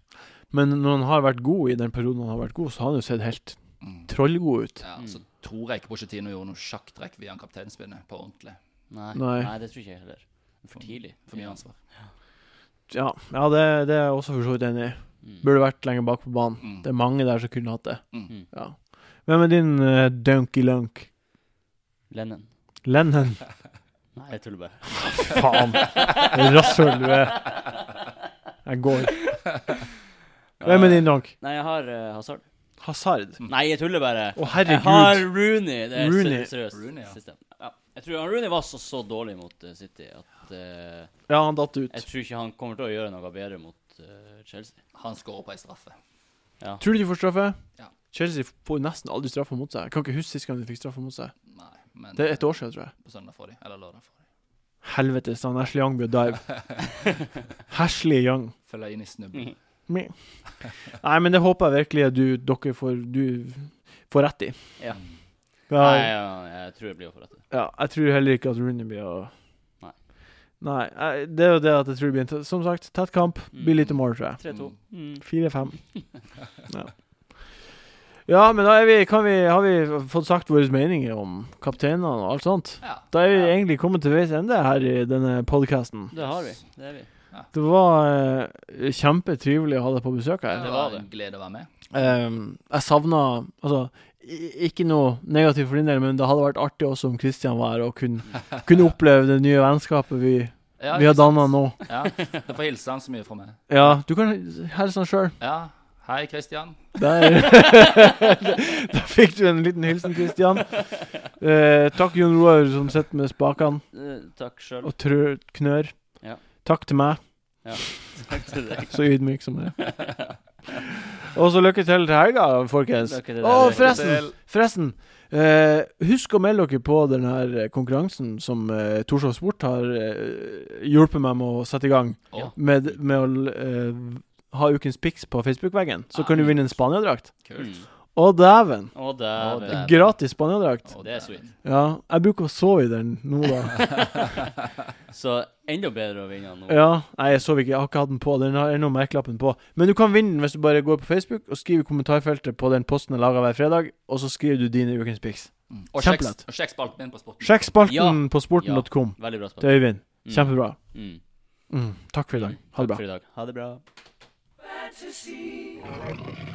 Speaker 1: Men når han har vært god i den perioden han har vært god, så har han jo sett helt
Speaker 4: Mm.
Speaker 1: trollgod ut.
Speaker 4: Ja, Så tror jeg ikke Pochettino gjorde noe sjakktrekk via en kapteinspinne på ordentlig.
Speaker 3: Nei,
Speaker 1: Nei.
Speaker 3: nei, det tror ikke jeg heller. For altså. tidlig.
Speaker 4: For mye
Speaker 3: Ja.
Speaker 4: ansvar.
Speaker 1: Ja, ja det, det er jeg også for så vidt enig i.
Speaker 3: Mm.
Speaker 1: Burde vært lenger bak på banen.
Speaker 4: Mm.
Speaker 1: Det er mange der som kunne hatt det.
Speaker 4: Mm.
Speaker 1: Ja. Hvem er din uh, Dunky Lunk?
Speaker 3: Lennon.
Speaker 1: Lennon?
Speaker 3: Nei, jeg tuller bare.
Speaker 1: Faen. Rasshøl du er. Jeg går. Hvem er din dunk?
Speaker 3: Nei, jeg har eh, Hazard.
Speaker 1: Hazard.
Speaker 3: Mm. Nei, jeg tuller bare.
Speaker 1: Å,
Speaker 3: Jeg har
Speaker 1: herregud.
Speaker 3: Rooney. Det er
Speaker 1: Rooney.
Speaker 3: Rooney. seriøst.
Speaker 4: Rooney, ja.
Speaker 3: Siste. Ja. Jeg tror han Rooney var så, så dårlig mot eh, City at eh,
Speaker 1: Ja, han datt ut.
Speaker 3: jeg tror ikke han kommer til å gjøre noe bedre mot eh, Chelsea.
Speaker 4: Han skårer på ei straffe.
Speaker 1: Tror du de får straffe?
Speaker 4: Ja.
Speaker 1: Chelsea får nesten aldri straffe mot seg. Jeg kan ikke huske sist gang de fikk straffe mot seg.
Speaker 4: Nei, men
Speaker 1: Det er et år siden, tror jeg.
Speaker 4: på søndag får de. Eller lørdag får de.
Speaker 1: Helvetes, han Ashley Young blir å dive. Ashley Young.
Speaker 4: Følger inn i
Speaker 1: Mm.
Speaker 4: snubben.
Speaker 1: Me. Nei, men det håper jeg virkelig at du, dere får, du får rett i.
Speaker 3: Ja.
Speaker 1: Ja,
Speaker 3: Nei, ja, jeg tror jeg blir for dette.
Speaker 1: ja, jeg tror heller ikke at Rooney blir å
Speaker 3: Nei.
Speaker 1: Nei, eh, det er jo det at jeg tror det blir en tett- Som sagt, tett kamp.
Speaker 3: Mm.
Speaker 1: Blir lite mål, tror jeg.
Speaker 3: 3-2. Mm.
Speaker 1: Fire-fem. Ja. ja, men da er vi, kan vi, har vi fått sagt våre meninger om kapteinene og alt sånt.
Speaker 4: Ja.
Speaker 1: Da er vi
Speaker 4: Ja.
Speaker 1: egentlig kommet til veis ende her i denne podkasten.
Speaker 3: Det har vi. Det er vi.
Speaker 1: Det var eh, kjempetrivelig å ha deg på besøk her.
Speaker 4: Det var en glede å være med.
Speaker 1: Ehm, jeg savna Altså, i- ikke noe negativt for din del, men det hadde vært artig også om Kristian var her og kunne, kunne oppleve det nye vennskapet vi,
Speaker 4: Ja,
Speaker 1: vi har
Speaker 4: ikke sant?
Speaker 1: danna nå.
Speaker 4: Ja. Du får hilse han så mye fra meg.
Speaker 1: Ja, du kan hilse han sjøl.
Speaker 4: Ja. Hei, Christian.
Speaker 1: Der. da fikk du en liten hilsen, Kristian. Eh, takk, Jon Roar, som sitter med spakene
Speaker 3: Eh, takk sjøl.
Speaker 1: og trør knør.
Speaker 3: Ja.
Speaker 1: Takk til meg,
Speaker 3: Takk til deg.
Speaker 1: så ydmyk som jeg er. Og så lykke til til helga, folkens.
Speaker 3: Lykke til
Speaker 1: Å,
Speaker 3: deg.
Speaker 1: forresten! forresten eh, husk å melde dere på den her eh, konkurransen som uh, Torshov Sport har eh, hjulpet meg med å sette i gang.
Speaker 4: Å,
Speaker 1: Med, med å eh, ha ukens pics på Facebook-veggen. Så
Speaker 4: Ah,
Speaker 1: kan du vinne en Spania-drakt.
Speaker 4: kult.
Speaker 3: Mm.
Speaker 1: Å, dæven!
Speaker 3: Å, der.
Speaker 4: Å, dæven.
Speaker 1: Gratis Spania-drakt.
Speaker 4: Å, det er sweet.
Speaker 1: Ja, jeg bruker å sove i den nå, da.
Speaker 3: Så Enda bedre å vinne nå.
Speaker 1: Ja, nei, jeg sov ikke. Jeg har ikke hatt den på. Den har ennå merkelappen på. Men du kan vinne den hvis du bare går på Facebook og skriver i kommentarfeltet på den posten jeg lager hver fredag, og så skriver du dine ukens pics.
Speaker 4: Mm. Og sjekk-
Speaker 1: Kjempelett.
Speaker 4: og sjekk spalten min på Sporten.
Speaker 1: Sjekk spalten
Speaker 3: Ja.
Speaker 1: på sporten.com
Speaker 3: Veldig bra
Speaker 1: til
Speaker 3: spørsmål.
Speaker 1: Øyvind.
Speaker 3: Mm.
Speaker 1: Kjempebra.
Speaker 3: Mm.
Speaker 1: Mm. Takk for i dag. Ha det bra.
Speaker 3: For i dag. Ha det bra.